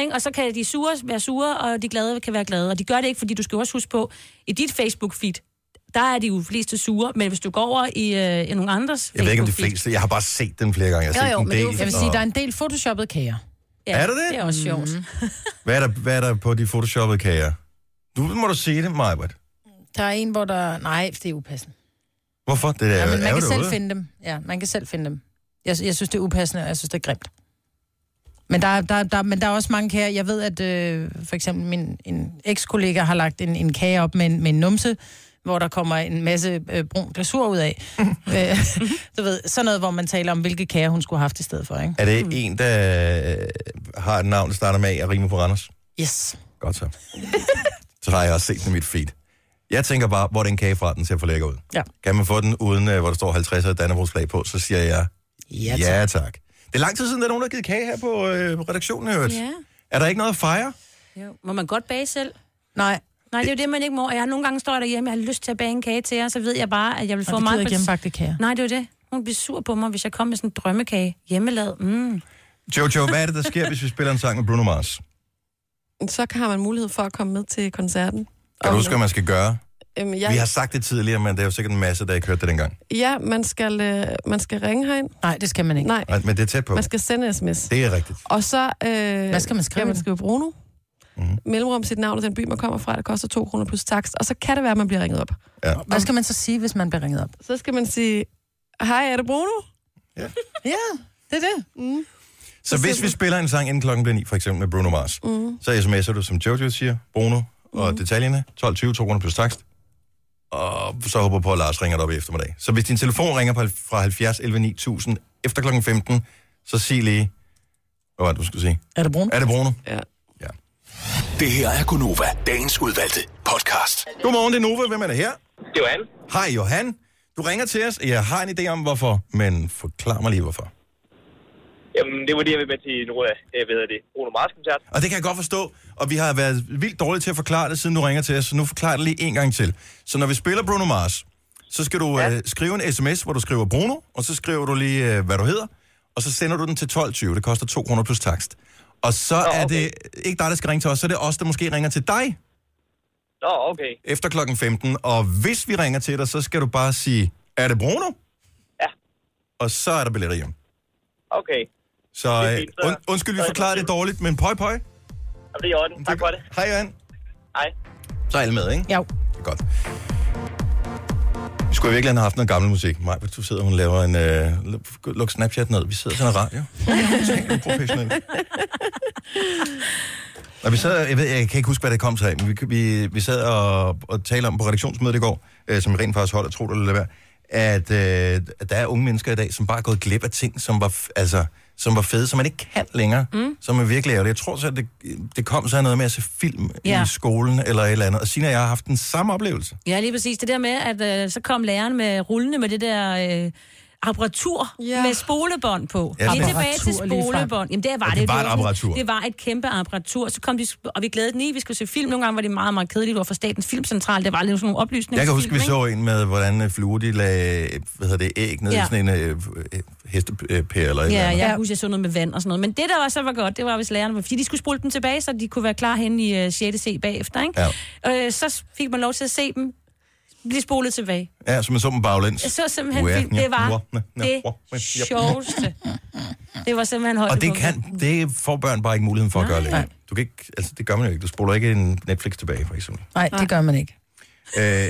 Ikke? Og så kan de sure være sure, og de glade kan være glade. Og de gør det ikke, fordi du skal jo også huske på, i dit Facebook-feed, der er de jo fleste sure, men hvis du går over i, øh, i nogle andres Jeg ved ikke, om de Facebook-feed, fleste... Jeg har bare set den flere gange. Jeg har set en del. jeg vil sige, og- der er en del photoshoppede kager. Ja, Er der det? Det er også sjovt. Mm. hvad, er der, hvad er der på de photoshoppede kager? Du må du sige det, Majbert. Der er en, hvor der... Nej, det er upassende. Hvorfor? Det er, Ja, men er man jo kan selv derude. finde dem. Ja, man kan selv finde dem. Jeg, jeg synes, det er upassende, og jeg synes, det er grimt. Men der, er- der, er- der, er- men der er også mange kager. Jeg ved, at øh, for eksempel min en ekskollega har lagt en, en kage op med en, med en numse, hvor der kommer en masse øh, brun glasur ud af. øh, du ved, sådan noget, hvor man taler om, hvilke kager hun skulle have haft i stedet for, ikke? Er det en, der øh, har et navn, der starter med A og rimer på Randers? Yes. Godt så. så har jeg også set den i mit feed. Jeg tænker bare, hvor den kage fra, den ser for lækker ud. Ja. Kan man få den uden, øh, hvor der står 50 og Dannebrogs flag på, så siger jeg ja tak. Ja, tak. Det er lang tid siden, der er nogen, der har givet kage her på øh, redaktionen, jeg Ja. Er der ikke noget at fejre? Jo. Må man godt bage selv? Nej. Nej, det er jo det, man ikke må. Og jeg nogle gange står jeg derhjemme, jeg har lyst til at bage en kage til jer, så ved jeg bare, at jeg vil Og få du meget... gider ikke hjemmebagte kager. Nej, det er jo det. Hun bliver sur på mig, hvis jeg kommer med sådan en drømmekage. Hjemmelavet. Mm. Jojo, hvad er det, der sker, hvis vi spiller en sang med Bruno Mars? Så har man mulighed for at komme med til koncerten. Kan du huske, hvad man skal gøre? Øhm, Ja. Vi har sagt det tidligere, men der er jo sikkert en masse, der ikke hørte det dengang. Ja, man skal, øh, man skal ringe herind. Nej, det skal man ikke. Nej, Ej, Men det er tæt på. man skal sende sms. Det er rigtigt. Og så... Øh, Hvad skal man skrive? Skal man skrive Bruno? Mm. Mellemrum sit navn og den by, man kommer fra, det koster 2 kroner plus takst. Og så kan det være, at man bliver ringet op. Ja. Hvad skal man så sige, hvis man bliver ringet op? Så skal man sige, hej, er det Bruno? Ja, det er det. Mm. Så hvis vi spiller en sang inden klokken bliver 9, for eksempel med Bruno Mars, Mm. så sms'er du, som Jojo siger, Bruno og detaljerne, 12.20, 2 kroner plus takst, og så håber på, at Lars ringer dig op i eftermiddag. Så hvis din telefon ringer på, hal- fra 70 11 9000 efter klokken 15, så sig lige, hvad var det, du skulle sige? Er det Bruno? Er det Bruno? Ja. ja. Det her er Gunova, dagens udvalgte podcast. Godmorgen, det er Nova. Hvem er det her? Det var han. Hej, Johan. Du ringer til os. Jeg har en idé om, hvorfor, men forklar mig lige, hvorfor. Jamen, Mm, det var det, jeg ville med til en rød, jeg ved det, Bruno Mars-koncert. Og det kan jeg godt forstå, og vi har været vildt dårlige til at forklare det, siden du ringer til os, så nu forklarer jeg det lige en gang til. Så når vi spiller Bruno Mars, så skal du ja. øh, skrive en sms, hvor du skriver Bruno, og så skriver du lige, øh, hvad du hedder, og så sender du den til 12.20. Det koster 2 kroner plus takst. Og så oh, okay. er det ikke dig, der skal ringe til os, så er det os, der måske ringer til dig Nå, okay. efter klokken 15. Og hvis vi ringer til dig, så skal du bare sige, er det Bruno? Ja. Og så er der billetter hjem. Okay. Så Det øh, er fint, så- und, undskyld, vi så er det forklarede det dårligt, men pøj pøj. Jamen, det er i orden. Tak for det. Hej, Johan. Hej. Så er alle med, ikke? Ja. Godt. Vi skulle virkelig have haft noget gammel musik. Maj, du sidder, hun laver en... Øh, luk- luk Snapchat ned. Vi sidder til noget radio. Og vi sad, jeg, ved, jeg kan ikke huske, hvad det kom sig af, men vi, vi, vi sad og, og talte om på redaktionsmødet i går, øh, som rent faktisk holder, tro det eller lad være, at, øh, at der er unge mennesker i dag, som bare er gået glip af ting, som var, f- altså, som var fede, som man ikke kan længere, mm. som er virkelig ærgerligt. Jeg tror så, at det, det kom så af noget med at se film ja. Ja. i skolen eller et eller andet. Og Sina og jeg har haft den samme oplevelse. Ja, lige præcis. Det der med, at øh, så kom læreren med rullende med det der... Øh, apparatur ja. med spolebånd på. Ja, Ja, lige sådan- tilbage til Apparatur ligefrem. spolebånd. Jamen, det var Ja, det. det var et sådan- apparatur. Det var et kæmpe apparatur. Så kom de, sp- og vi glædede den i, vi skulle se film. Nogle gange var det meget, meget kedeligt. Det var fra Statens Filmcentral. Det var lidt sådan nogle oplysninger. Jeg kan huske, vi så en med, hvordan øh, fluer de lagde øh, hvad hedder det, æg ned ja. Ja. i sådan en øh, øh, hestepære eller et eller Ja, andet. jeg kan huske, jeg så noget med vand og sådan noget. Men det, der var så var godt, det var, hvis lærerne... Fordi de skulle spole dem tilbage, så de kunne være klar hen i øh, 6. C bagefter, ikke? Ja. Øh, så fik man lov til at se dem blive spolet tilbage. Ja, som en summen baglæns. Jeg så simpelthen, det, det var det sjoveste. Det var simpelthen højt. Og det, kan, det får børn bare ikke muligheden for at gøre længere. Du kan ikke, altså det gør man jo ikke. Du spoler ikke en Netflix tilbage, for eksempel. Nej, det gør man ikke. Øh,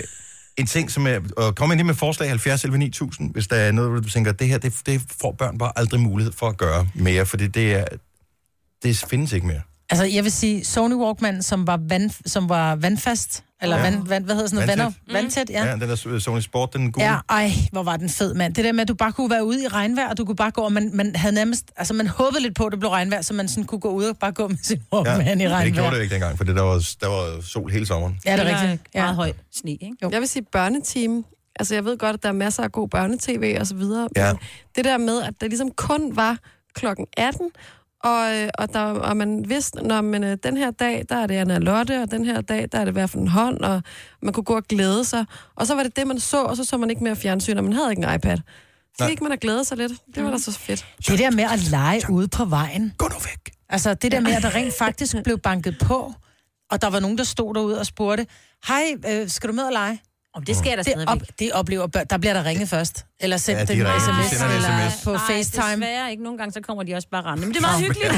en ting, som er... Og kom ind lige med forslag 70 11 9000, hvis der er noget, hvor du tænker, det her, det, det får børn bare aldrig mulighed for at gøre mere, for det, det er... Det findes ikke mere. Altså, jeg vil sige, Sony Walkman, som var, vand, som var vandfast, eller Ja. ja. vand, vand, hvad hedder sådan noget? Vandtæt. Vandtæt, vandtæt ja. ja. den der Sony Sport, den gule. Ja, ej, hvor var den fed, mand. Det der med, at du bare kunne være ude i regnvejr, og du kunne bare gå, og man, man havde nærmest, altså man håbede lidt på, at det blev regnvejr, så man sådan kunne gå ud og bare gå med sin Walkman ja, i Men det regnvejr. gjorde det jo ikke dengang, for der var, der var sol hele sommeren. Ja, det er rigtigt. Ja. Meget højt sne, ikke? Jo. Jeg vil sige børneteam. Altså, jeg ved godt, at der er masser af god børnetv og så videre. Ja. Men det der med, at der ligesom kun var klokken 18, og, øh, og, der, og man vidste, når man, øh, den her dag, der er det Anna Lotte, og den her dag, der er det hver for en hånd, og man kunne gå og glæde sig. Og så var det det, man så, og så så man ikke mere fjernsyn, og man havde ikke en iPad. Så Nej. gik man og glæde sig lidt. Det var da så fedt. Det der med at lege ude på vejen. Gå nu væk. Altså, det der med, at der rent faktisk blev banket på, og der var nogen, der stod derude og spurgte, hej, øh, skal du med og lege? Mm. Om det skal jeg da det, op, det oplever børn. Der bliver der ringet først. Eller sendt Ja, ja, de den ringer. Altså, sms, De sender en eller SMS. på Nej, FaceTime. desværre ikke. Nogle gange, så kommer de også bare rende. Men det er meget hyggeligt.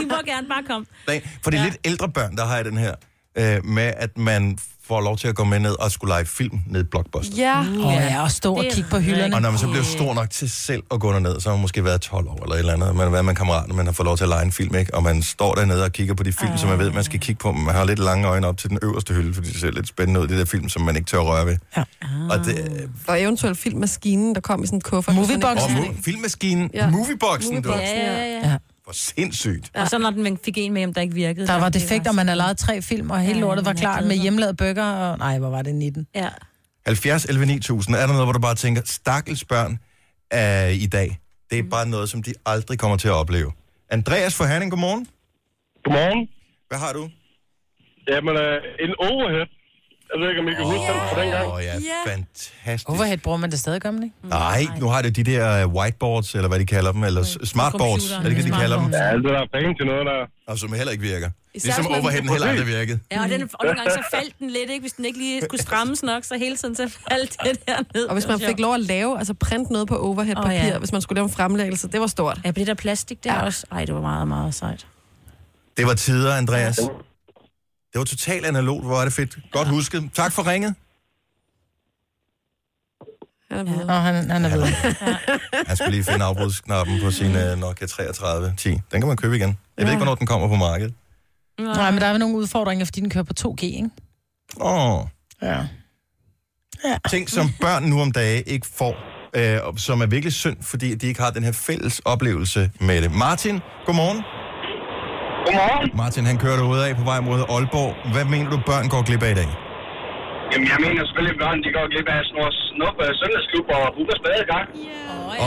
de må gerne bare komme. Dagen. For det er ja. lidt ældre børn, der har jeg den her, øh, med at man får lov til at gå med ned og skulle lege film ned i Blockbuster. Ja. Åh, ja, og stå og Det er kigge på hylderne. Og når man så bliver stor nok til selv at gå derned, så har man måske været 12 år eller et eller andet. Man har været med en kammerat, man har fået lov til at lege en film, ikke? Og man står dernede og kigger på de film, som man ved, man skal kigge på. Men Man har lidt lange øjne op til den øverste hylde, fordi det ser lidt spændende ud, det der film, som man ikke tør at røre ved. Ja. Og det, Og eventuelt filmmaskinen, der kom i sådan en kuffert. og mo- filmmaskinen, ja. movieboxen, du. Ja, ja, ja. ja. Hvor sindssygt. Og så når den fik en med hjem, der ikke virkede. Der så var det defekt, og man havde lavet tre film, og hele Ja, lortet var jeg klar glæder med mig. hjemmelavet bøger. Og... Nej, hvor var det 19. Ja. 70 11 9000, er der noget, hvor du bare tænker, stakkels børn er i dag, det er bare noget, som de aldrig kommer til at opleve. Andreas for Herning, godmorgen. Godmorgen. Hvad har du? Jamen, øh, en overhead. Jeg ved ikke, om I kan huske den fra dengang. Åh oh, ja, fantastisk. Overhead bruger man det stadig, gør man ikke? Nej, nu har det de der øh, whiteboards, eller hvad de kalder dem, eller s- smartboards, er det ikke, det, de kalder dem? Ja, det der er penge til noget, der... Og som heller ikke virker. Især Ligesom hvis man- overheaden heller aldrig virkede. Ja, og, den, og nogle gange så faldt den lidt, ikke? Hvis den ikke lige kunne strammes nok, så hele tiden så faldt det der ned. Og hvis man fik lov at lave, altså printe noget på overhead-papir, Åh, oh, ja. ja. hvis man skulle lave en fremlæggelse, det var stort. Ja, på det der plastik der ja. også. Ej, det var meget, meget sejt. Det var tider, Andreas. Det var totalt analogt, hvor er det fedt. Godt husket. Tak for ringet. Han er ja. han, han er ved. Han skulle lige finde afbrudsknappen på sin øh, Nokia 3310. Den kan man købe igen. Jeg ved ikke, hvornår den kommer på markedet. Nej, men der er vel nogle udfordringer, fordi den kører på 2G, ikke? Åh. Oh. Ja. Ting, som børn nu om dage ikke får, øh, og som er virkelig synd, fordi de ikke har den her fælles oplevelse med det. Martin, godmorgen. Godmorgen. Martin, han kører derude af på vej mod Aalborg. Hvad mener du, børn går glip af i dag? Jamen, jeg mener selvfølgelig, at børn, de går glip af sådan noget snup øh, søndagsklub og bukkers badegang.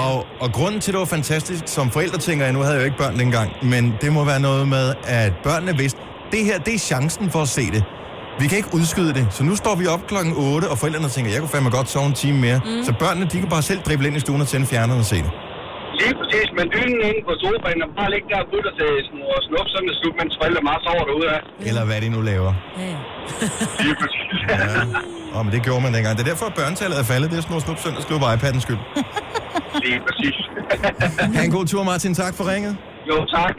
Og, og grunden til, det var fantastisk, som forældre tænker jeg, nu havde jeg jo ikke børn dengang, men det må være noget med, at børnene vidste, det her, det er chancen for at se det. Vi kan ikke udskyde det. Så nu står vi op klokken 8, og forældrene tænker, jeg kunne fandme godt sove en time mere. Mm. Så børnene, de kan bare selv drible ind i stuen og tænde fjerneren og se det. Lige præcis, men dynen inde på sofaen, og bare ligge der og putter til sådan noget snup søndagsklub, mens forældre meget sover derude af. Eller hvad de nu laver. Lige præcis. Åh, men det gjorde man dengang. Det er derfor, at børnetallet er faldet. Det er sådan noget snup søndag, skrive på iPad'ens skyld. Lige præcis. Ha' en god tur, Martin. Tak for ringet. Jo, tak.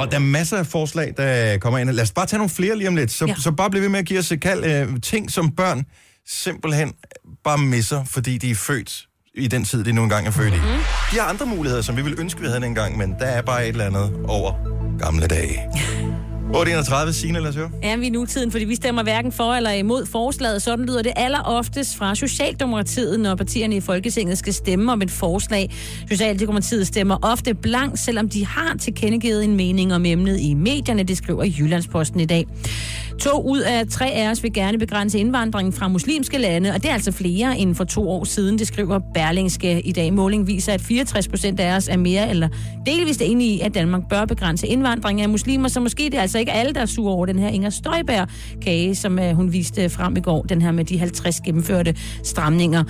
Og der er masser af forslag, der kommer ind. Lad os bare tage nogle flere lige om lidt. Så, ja. Ja. så bare bliv ved med at give os et kald. Øh, ting, som børn simpelthen bare misser, fordi de er født i den tid, de nu engang er født i. De har andre muligheder, som vi ville ønske, vi havde dengang, men der er bare et eller andet over gamle dage. 8.31, Signe, lad os høre. Ja, vi er i nutiden, fordi vi stemmer hverken for eller imod forslaget. Sådan lyder det aller oftest fra Socialdemokratiet, når partierne i Folketinget skal stemme om et forslag. Socialdemokratiet stemmer ofte blank, selvom de har tilkendegivet en mening om emnet i medierne, det skriver Jyllandsposten i dag. To ud af tre af os vil gerne begrænse indvandringen fra muslimske lande, og det er altså flere end for to år siden, det skriver Berlingske i dag. Måling viser, at 64 procent af os er mere eller delvist enige i, at Danmark bør begrænse indvandringen af muslimer, så måske det er altså ikke alle, der er sure over den her Inger Støjberg-kage, som øh, hun viste frem i går, den her med de 50 gennemførte stramninger.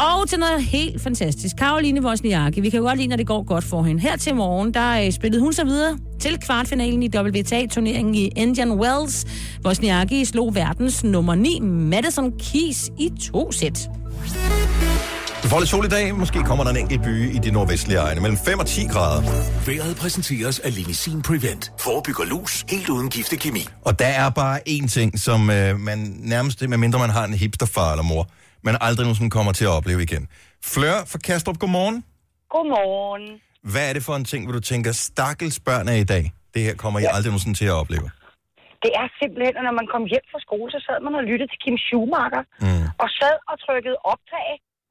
Og til noget helt fantastisk. Karoline Wozniacki, vi kan jo godt lide, når det går godt for hende. Her til morgen, der øh, spillede hun så videre til kvartfinalen i WTA-turneringen i Indian Wells. Wozniacki slog verdens nummer 9, Madison Keys, i to sæt. Du får lidt sol i dag. Måske kommer der en enkelt by i de nordvestlige egne. Mellem 5 og 10 grader. Vejret præsenteres af Linisin Prevent. Forebygger lus helt uden giftig kemi. Og der er bare én ting, som øh, man nærmest, medmindre man har en hipsterfar eller mor, man aldrig nogensinde kommer til at opleve igen. Flør fra Kastrup, godmorgen. Godmorgen. Hvad er det for en ting, hvor du tænker, stakkels børn er i dag? Det her kommer jeg aldrig nogensinde til at opleve. Det er simpelthen, at når man kom hjem fra skole, så sad man og lyttede til Kim Schumacher. Mm. Og sad og trykkede optag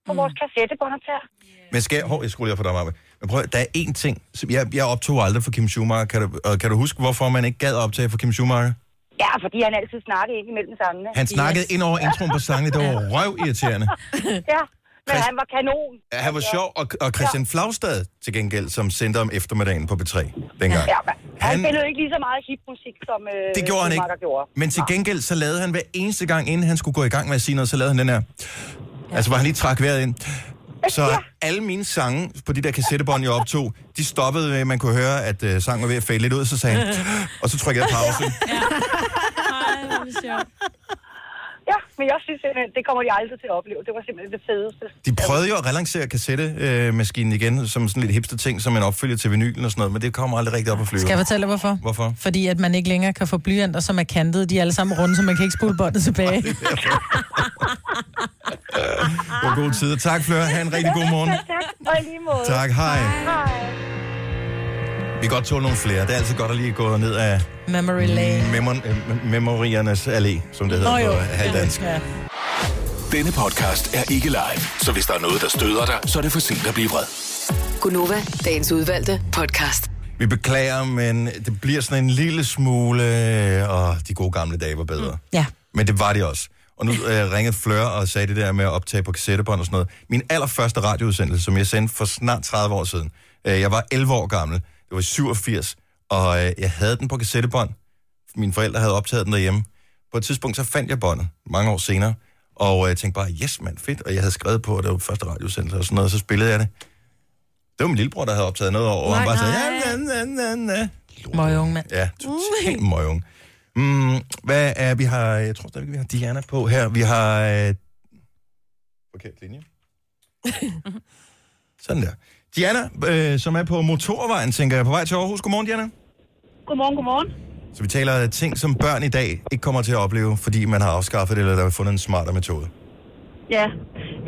på mm. vores kassettebåndoptager. Men skal jeg... Hov, jeg skruer lige op for dig, Marve. Men prøv, at- der er én ting, som jeg, jeg optog aldrig for Kim Schumacher. Kan du, og kan du huske, hvorfor man ikke gad optage for Kim Schumacher? Ja, fordi han altid snakkede ind imellem sangene. Han snakkede yes. ind over introen på sangene. Det var røvirriterende. ja, men han var kanon. Ja, Han var sjov, og, og Christian Flagstad til gengæld, som sendte om eftermiddagen på B3 dengang. Ja, men han, han Han- spillede ikke lige så meget hipmusik, som øh, Det gjorde han ikke. Schumacher Gjorde. Men til gengæld, så lavede han hver eneste gang, inden han skulle gå i gang med at sige noget, så lavede han den her. Altså, hvor han lige trak vejret ind. Så alle mine sange på de der kassettebånd, jeg optog, de stoppede med, at man kunne høre, at øh, sangen var ved at fade lidt ud, så sagde han, og så trykkede jeg pause. Ja. ja, men jeg synes simpelthen, det kommer de aldrig til at opleve. Det var simpelthen det fedeste. De prøvede jo at relancere kassettemaskinen igen, som sådan lidt hipster ting, som en opfølger til vinylen og sådan noget, men det kommer aldrig rigtig op at flyve. Skal jeg fortælle dig, hvorfor? Hvorfor? Fordi at man ikke længere kan få blyanter, som er kantede. De er alle sammen runde, så man kan ikke spole båndet tilbage. Det var gode tider. Tak, Fleur. Ha' en rigtig god morgen. tak, og i lige måde. Tak, hej. Hej. Vi kan godt tåle nogle flere. Det er altid godt at lige gå ned af Memory lane. memor- øh, memoriernes allé, som det hedder Nå Nå, jo. på halvdansk. Ja. Denne podcast er ikke live, så hvis der er noget, der støder dig, så er det for sent at blive vred. Gunova, dagens udvalgte podcast. Vi beklager, men det bliver sådan en lille smule, og de gode gamle dage var bedre. Ja. Men det var de også. Og nu øh, ringede Fleur og sagde det der med at optage på kassettebånd og sådan noget. Min allerførste radioudsendelse, som jeg sendte for snart 30 år siden. Øh, jeg var 11 år gammel. Det var i 87. Og øh, jeg havde den på kassettebånd. Mine forældre havde optaget den derhjemme. På et tidspunkt så fandt jeg båndet, mange år senere. Og øh, jeg tænkte bare, yes mand, fedt. Og jeg havde skrevet på, at det var første radioudsendelse og sådan noget. Og så spillede jeg det. Det var min lillebror, der havde optaget noget over. og han bare sagde, ja, ja, na, na, na. Møg unge mand. Ja, totalt møgung. Mm, hvad er, vi har, jeg tror stadigvæk, vi har Diana på her. Vi har... Øh... Okay, linje. Sådan der. Diana, øh, som er på motorvejen, tænker jeg, på vej til Aarhus. Godmorgen, Diana. Godmorgen, godmorgen. Så vi taler ting, som børn i dag ikke kommer til at opleve, fordi man har afskaffet det, eller der er fundet en smartere metode. Ja,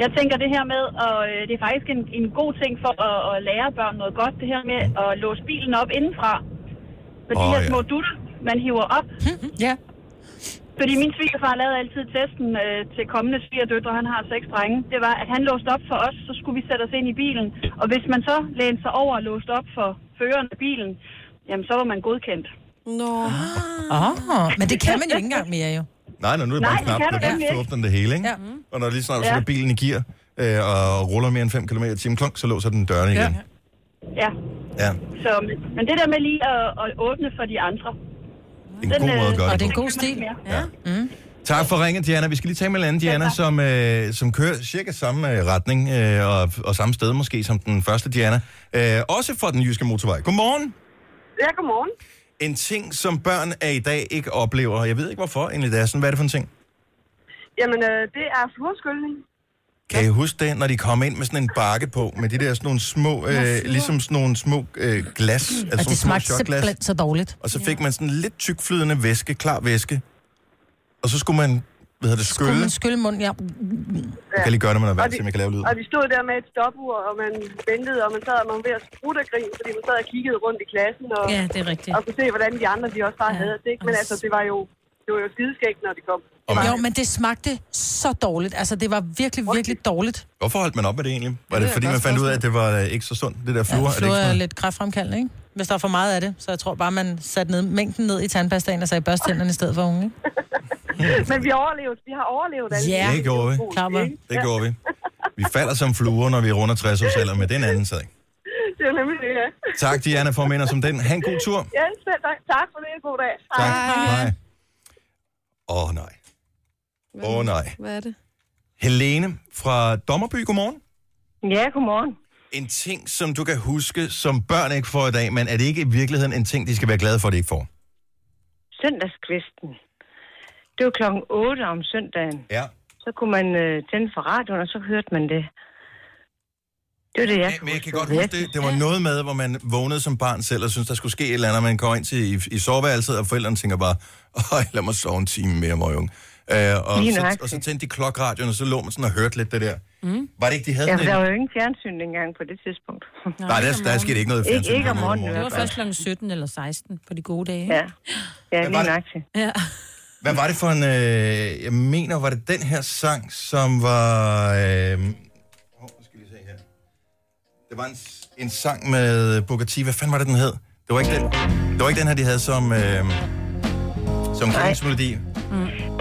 jeg tænker det her med, og øh, det er faktisk en, en god ting for at, at lære børn noget godt, det her med at låse bilen op indenfra. Med de Åh, her ja. små dutter, man hiver op. ja. Fordi min svigerfar lavede altid testen øh, til kommende svigerdøtre, han har seks drenge. Det var, at han låste op for os, så skulle vi sætte os ind i bilen. Og hvis man så lænede sig over og låste op for føreren af bilen, jamen så var man godkendt. Nå. Ah. Åh, men det kan man jo ikke engang mere, jo. Nej, nej, nu er det bare Nej, en det knap, kan du der nemlig så ikke. åbner den det hele, ikke? Ja. Og når lige snart du Ja. ja. bilen i gear, øh, og ruller mere end 5 km i timen, klunk, så låser den dørene igen. Ja. Ja, ja. så, men det der med lige at, at åbne for de andre. Det er en god måde at gøre det på. god stil. Ja. Mm. Tak for ringen, Diana. Vi skal lige tale med en anden Diana, som, øh, som kører cirka samme øh, retning øh, og, og samme sted måske som den første Diana. Øh, også fra den jyske motorvej. Godmorgen. Ja, godmorgen. En ting, som børn af i dag ikke oplever, og jeg ved ikke hvorfor egentlig det er sådan. Hvad er det for en ting? Jamen, øh, det er fluorskyldning. Kan I huske det, når de kom ind med sådan en bakke på, med de der sådan nogle små, øh, ligesom sådan nogle små øh, glas, mm, Og altså det sådan nogle smagte små shotglas, simpelthen så dårligt. og så fik man sådan lidt tykflydende væske, klar væske, og så skulle man, hvad hedder det, skylle. Skulle man Man... skylle munden, ja. Jeg kan lige gøre det med noget Og vand, de- så jeg kan lave lyd. Og vi stod der med et stopur, og man ventede, og man sad og man var ved at sprutte og grin, fordi man sad og kiggede rundt i klassen, og, Ja, det er rigtigt. og kunne se, hvordan de andre de også bare ja. havde det. Ikke? Men altså, det var jo, det var jo skideskægt, når det kom. Jo, men det smagte så dårligt. Altså, det var virkelig, virkelig dårligt. Hvorfor holdt man op med det egentlig? Var det, Det er fordi et man godt fandt ud af, at det var øh, ikke så sundt, det der fluor? Ja, Er det ikke fluor er sådan lidt kræftfremkaldende, ikke? Hvis der er for meget af det, så jeg tror bare, man satte ned, mængden ned i tandpastaen og sagde børstænderne i stedet for unge, ikke? Men vi overlevede. Vi har overlevet alle Ja. noget? det gjorde vi. Klar, var. Det gjorde vi. Vi falder som fluer, når vi runder 60 års alder, men det er en anden sag. Det er nemlig det, ja. Tak, Diana, for at minde os om den. Ha' en god tur. Ja, selv tak. Tak for det. God dag. Tak. Hej. Åh oh, nej. Åh oh, nej. Hvad er det? Helene fra Dommerby, godmorgen. Ja, godmorgen. En ting, som du kan huske, som børn ikke får i dag, men er det ikke i virkeligheden en ting, de skal være glade for, at de ikke får? Søndagskvisten. Det var klokken 8 om søndagen. Ja. Så kunne man øh, tænde for radioen, og så hørte man det. Det var det, jeg Men jeg kan godt huske det. Det var noget med, hvor man vågnede som barn selv og syntes, der skulle ske et eller andet. og Man går ind til i, i soveværelset, og forældrene tænker bare, Øj, lad mig sove en time mere, mor unge. Øh, og, Lige så, nøjagtigt. og så tændte de klokradioen, og så lå man sådan og hørte lidt det der. Mm. Var det ikke, de havde Ja, sådan for der en- var jo ingen fjernsyn dengang på det tidspunkt. Nej, der, der skete ikke noget i fjernsynet. Ikke, ikke om på morgenen. morgenen. Det var først kl. 17 eller 16 på de gode dage. Ja, ja lige var det? nøjagtigt. Ja. Hvad var det for en... Øh, jeg mener, var det den her sang, som var... Øh, hov, nu skal vi se her. Det var en, s- en sang med Bugatti. Hvad fanden var det, den hed? Det var ikke den, det var ikke den her, de havde som... Øh, som kvindsmelodi.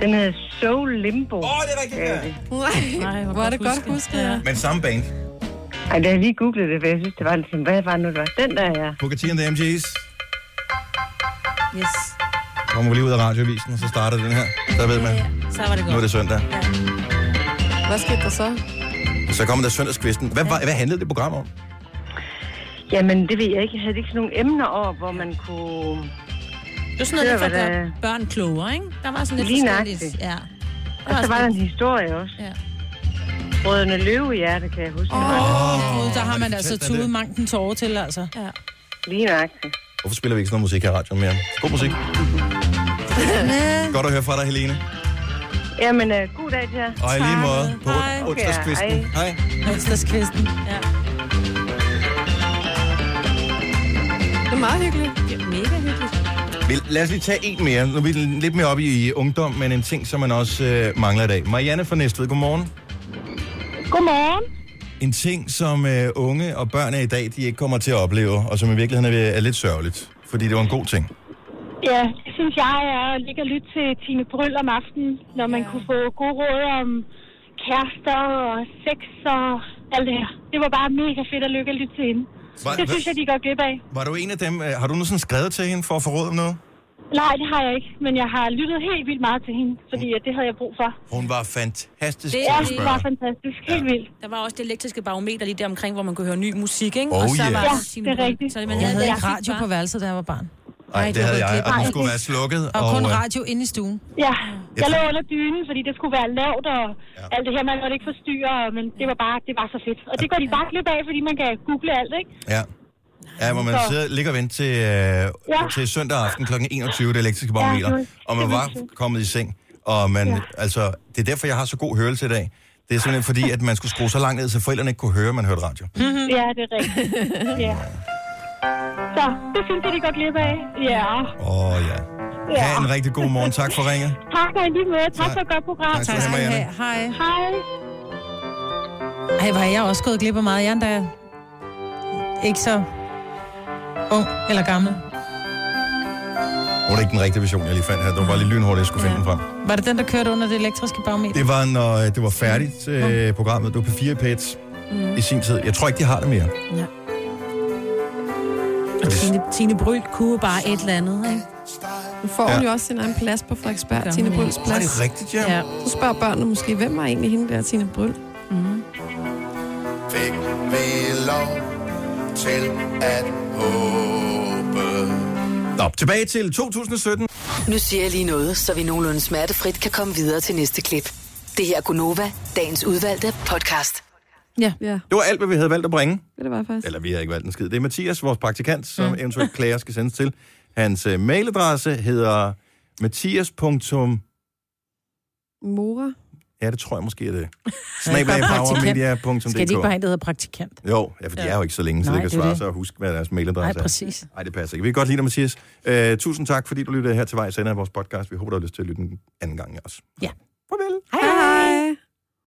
Den hed Soul Limbo. Åh, oh, det er rigtigt, ja. Nej, hvor er det godt husket, ja. Men samme band. Ej, da jeg lige googlede det, for jeg synes, det var ligesom, hvad var det nu, det var? Den der, ja. Bugatti and the MG's. Yes. Kommer vi lige ud af radioavisen, og så starter den her. Så ved man, Så var det godt. nu er det søndag. Hvad skete der så? Så kommer der søndagskvisten. Hvad, var, hvad handlede det program om? Jamen, det ved jeg ikke. Jeg havde ikke sådan nogle emner over, hvor man kunne... Det var sådan noget, der Høre, for hvad at gøre børn klogere, ikke? Der var sådan lidt Lige forskelligt. nøjagtigt. Ja. Og så var der en historie også. Ja. Brødrene Løvehjerte, kan jeg huske. Åh, Åh, oh, der har man fortæl altså dig det. tudet manken tårer til, altså. Ja. Lige nøjagtigt. Hvorfor spiller vi ikke sådan noget musik her i radioen mere? God musik. Godt at høre fra dig, Helene. Jamen, uh, god dag til jer. Og i lige måde på Hej. onsdagskvisten. Okay, Hej. Onsdagskvisten. Ja. Det er meget hyggeligt. Ja, mega hyggeligt. Vi- Lad os lige tage en mere. Nu er vi lidt mere oppe i ungdom, men en ting, som man også øh, mangler i dag. Marianne fra Næstved, godmorgen. Godmorgen. En ting, som øh, unge og børn af i dag, de ikke kommer til at opleve, og som i virkeligheden er, er lidt sørgeligt, fordi det var en god ting. Ja, det synes jeg er at ligge og lytte til Tine Bryl om aftenen, når man kunne få gode råd om kærester og sex og alt det her. Det var bare mega fedt at lykke og lytte til hende. Var- det synes hvad- jeg, de går glip af. Var du en af dem? Øh, har du nu sådan skrevet til hende for at få råd om noget? Nej, det har jeg ikke, men jeg har lyttet helt vildt meget til hende, fordi at det havde jeg brug for. Hun var fantastisk Det til er at bare spørge. fantastisk. Helt vildt. Der var også det elektriske barometer lige der omkring, hvor man kunne høre ny musik, ikke? Oh, og så yeah. var Ja, Signe det er Brun. rigtigt. Så man Jeg havde ja. ikke radio på værelset, da jeg var barn. Nej, det havde jeg, og den skulle Nej. være slukket. Og kun øh, radio inde i stuen. Ja, jeg lå under dynen, fordi det skulle være lavt, og ja. alt det her, man måtte ikke forstyrre, men det var bare, det var så fedt. Og det går de bare glip af, fordi man kan google alt, ikke? Ja. Ja, hvor man Så- sidder, ligger og venter til, øh, ja. til søndag aften kl. 21, det elektriske barometer, det- og man det er var vildt. kommet i seng. Og man, ja. altså, det er derfor, jeg har så god hørelse i dag. Det er simpelthen fordi, at man skulle skrue så langt ned, så forældrene ikke kunne høre, at man hørte radio. Mm-hmm. Ja, det er rigtigt. ja. Så, det synes jeg, de går glip af. Ja. Åh, oh, ja. Ja. Ha' en rigtig god morgen. Tak for ringet. Tak og i lige måde. Tak for et godt program. Tak skal du have, Marianne. Hej. Hej. Ej, var jeg også gået glip af meget. Jeg er endda ikke så ung eller gammel. Det var ikke den rigtige version, jeg lige fandt her. Det var bare lige lynhurtigt, jeg skulle finde den frem. Var det den, der kørte under det elektriske bagmeter? Det var, når øh, det var færdigt, øh, programmet. Det var på 4 pets i sin tid. Jeg tror ikke, de har det mere. Og Tine, Tine Bryl kunne jo bare et eller andet, ikke? Nu får hun Ja. jo også sin egen plads på Frederiksberg, Ja. Tine Bryls Åh, plads. det er rigtigt, ja. Så spørger børnene måske, hvem var egentlig hende der, Tine Bryl? fik vi lov til at håbe. Nå, tilbage til 2017. Nu siger jeg lige noget, så vi nogenlunde smertefrit kan komme videre til næste klip. Det her er Gunova, dagens udvalgte podcast. Ja. ja. Det var alt, hvad vi havde valgt at bringe. Det var faktisk. Eller vi har ikke valgt en skid. Det er Mathias, vores praktikant, som mm. eventuelt klager skal sendes til. Hans øh, mailadresse hedder mathias. Mora. Ja, det tror jeg måske er det. Skal de ikke bare have Snabelagpowermedia.dk en, der hedder praktikant? Jo, ja, for de er jo ikke så længe, så Nej, det kan det er svare det. sig at huske, hvad deres mailadresse Nej, præcis. er. Nej, det passer ikke. Vi kan godt lide dig, Mathias. Øh, tusind tak, fordi du lyttede her til vej sender af vores podcast. Vi håber, du har lyst til at lytte en anden gang også. Ja. Farvel. Hej,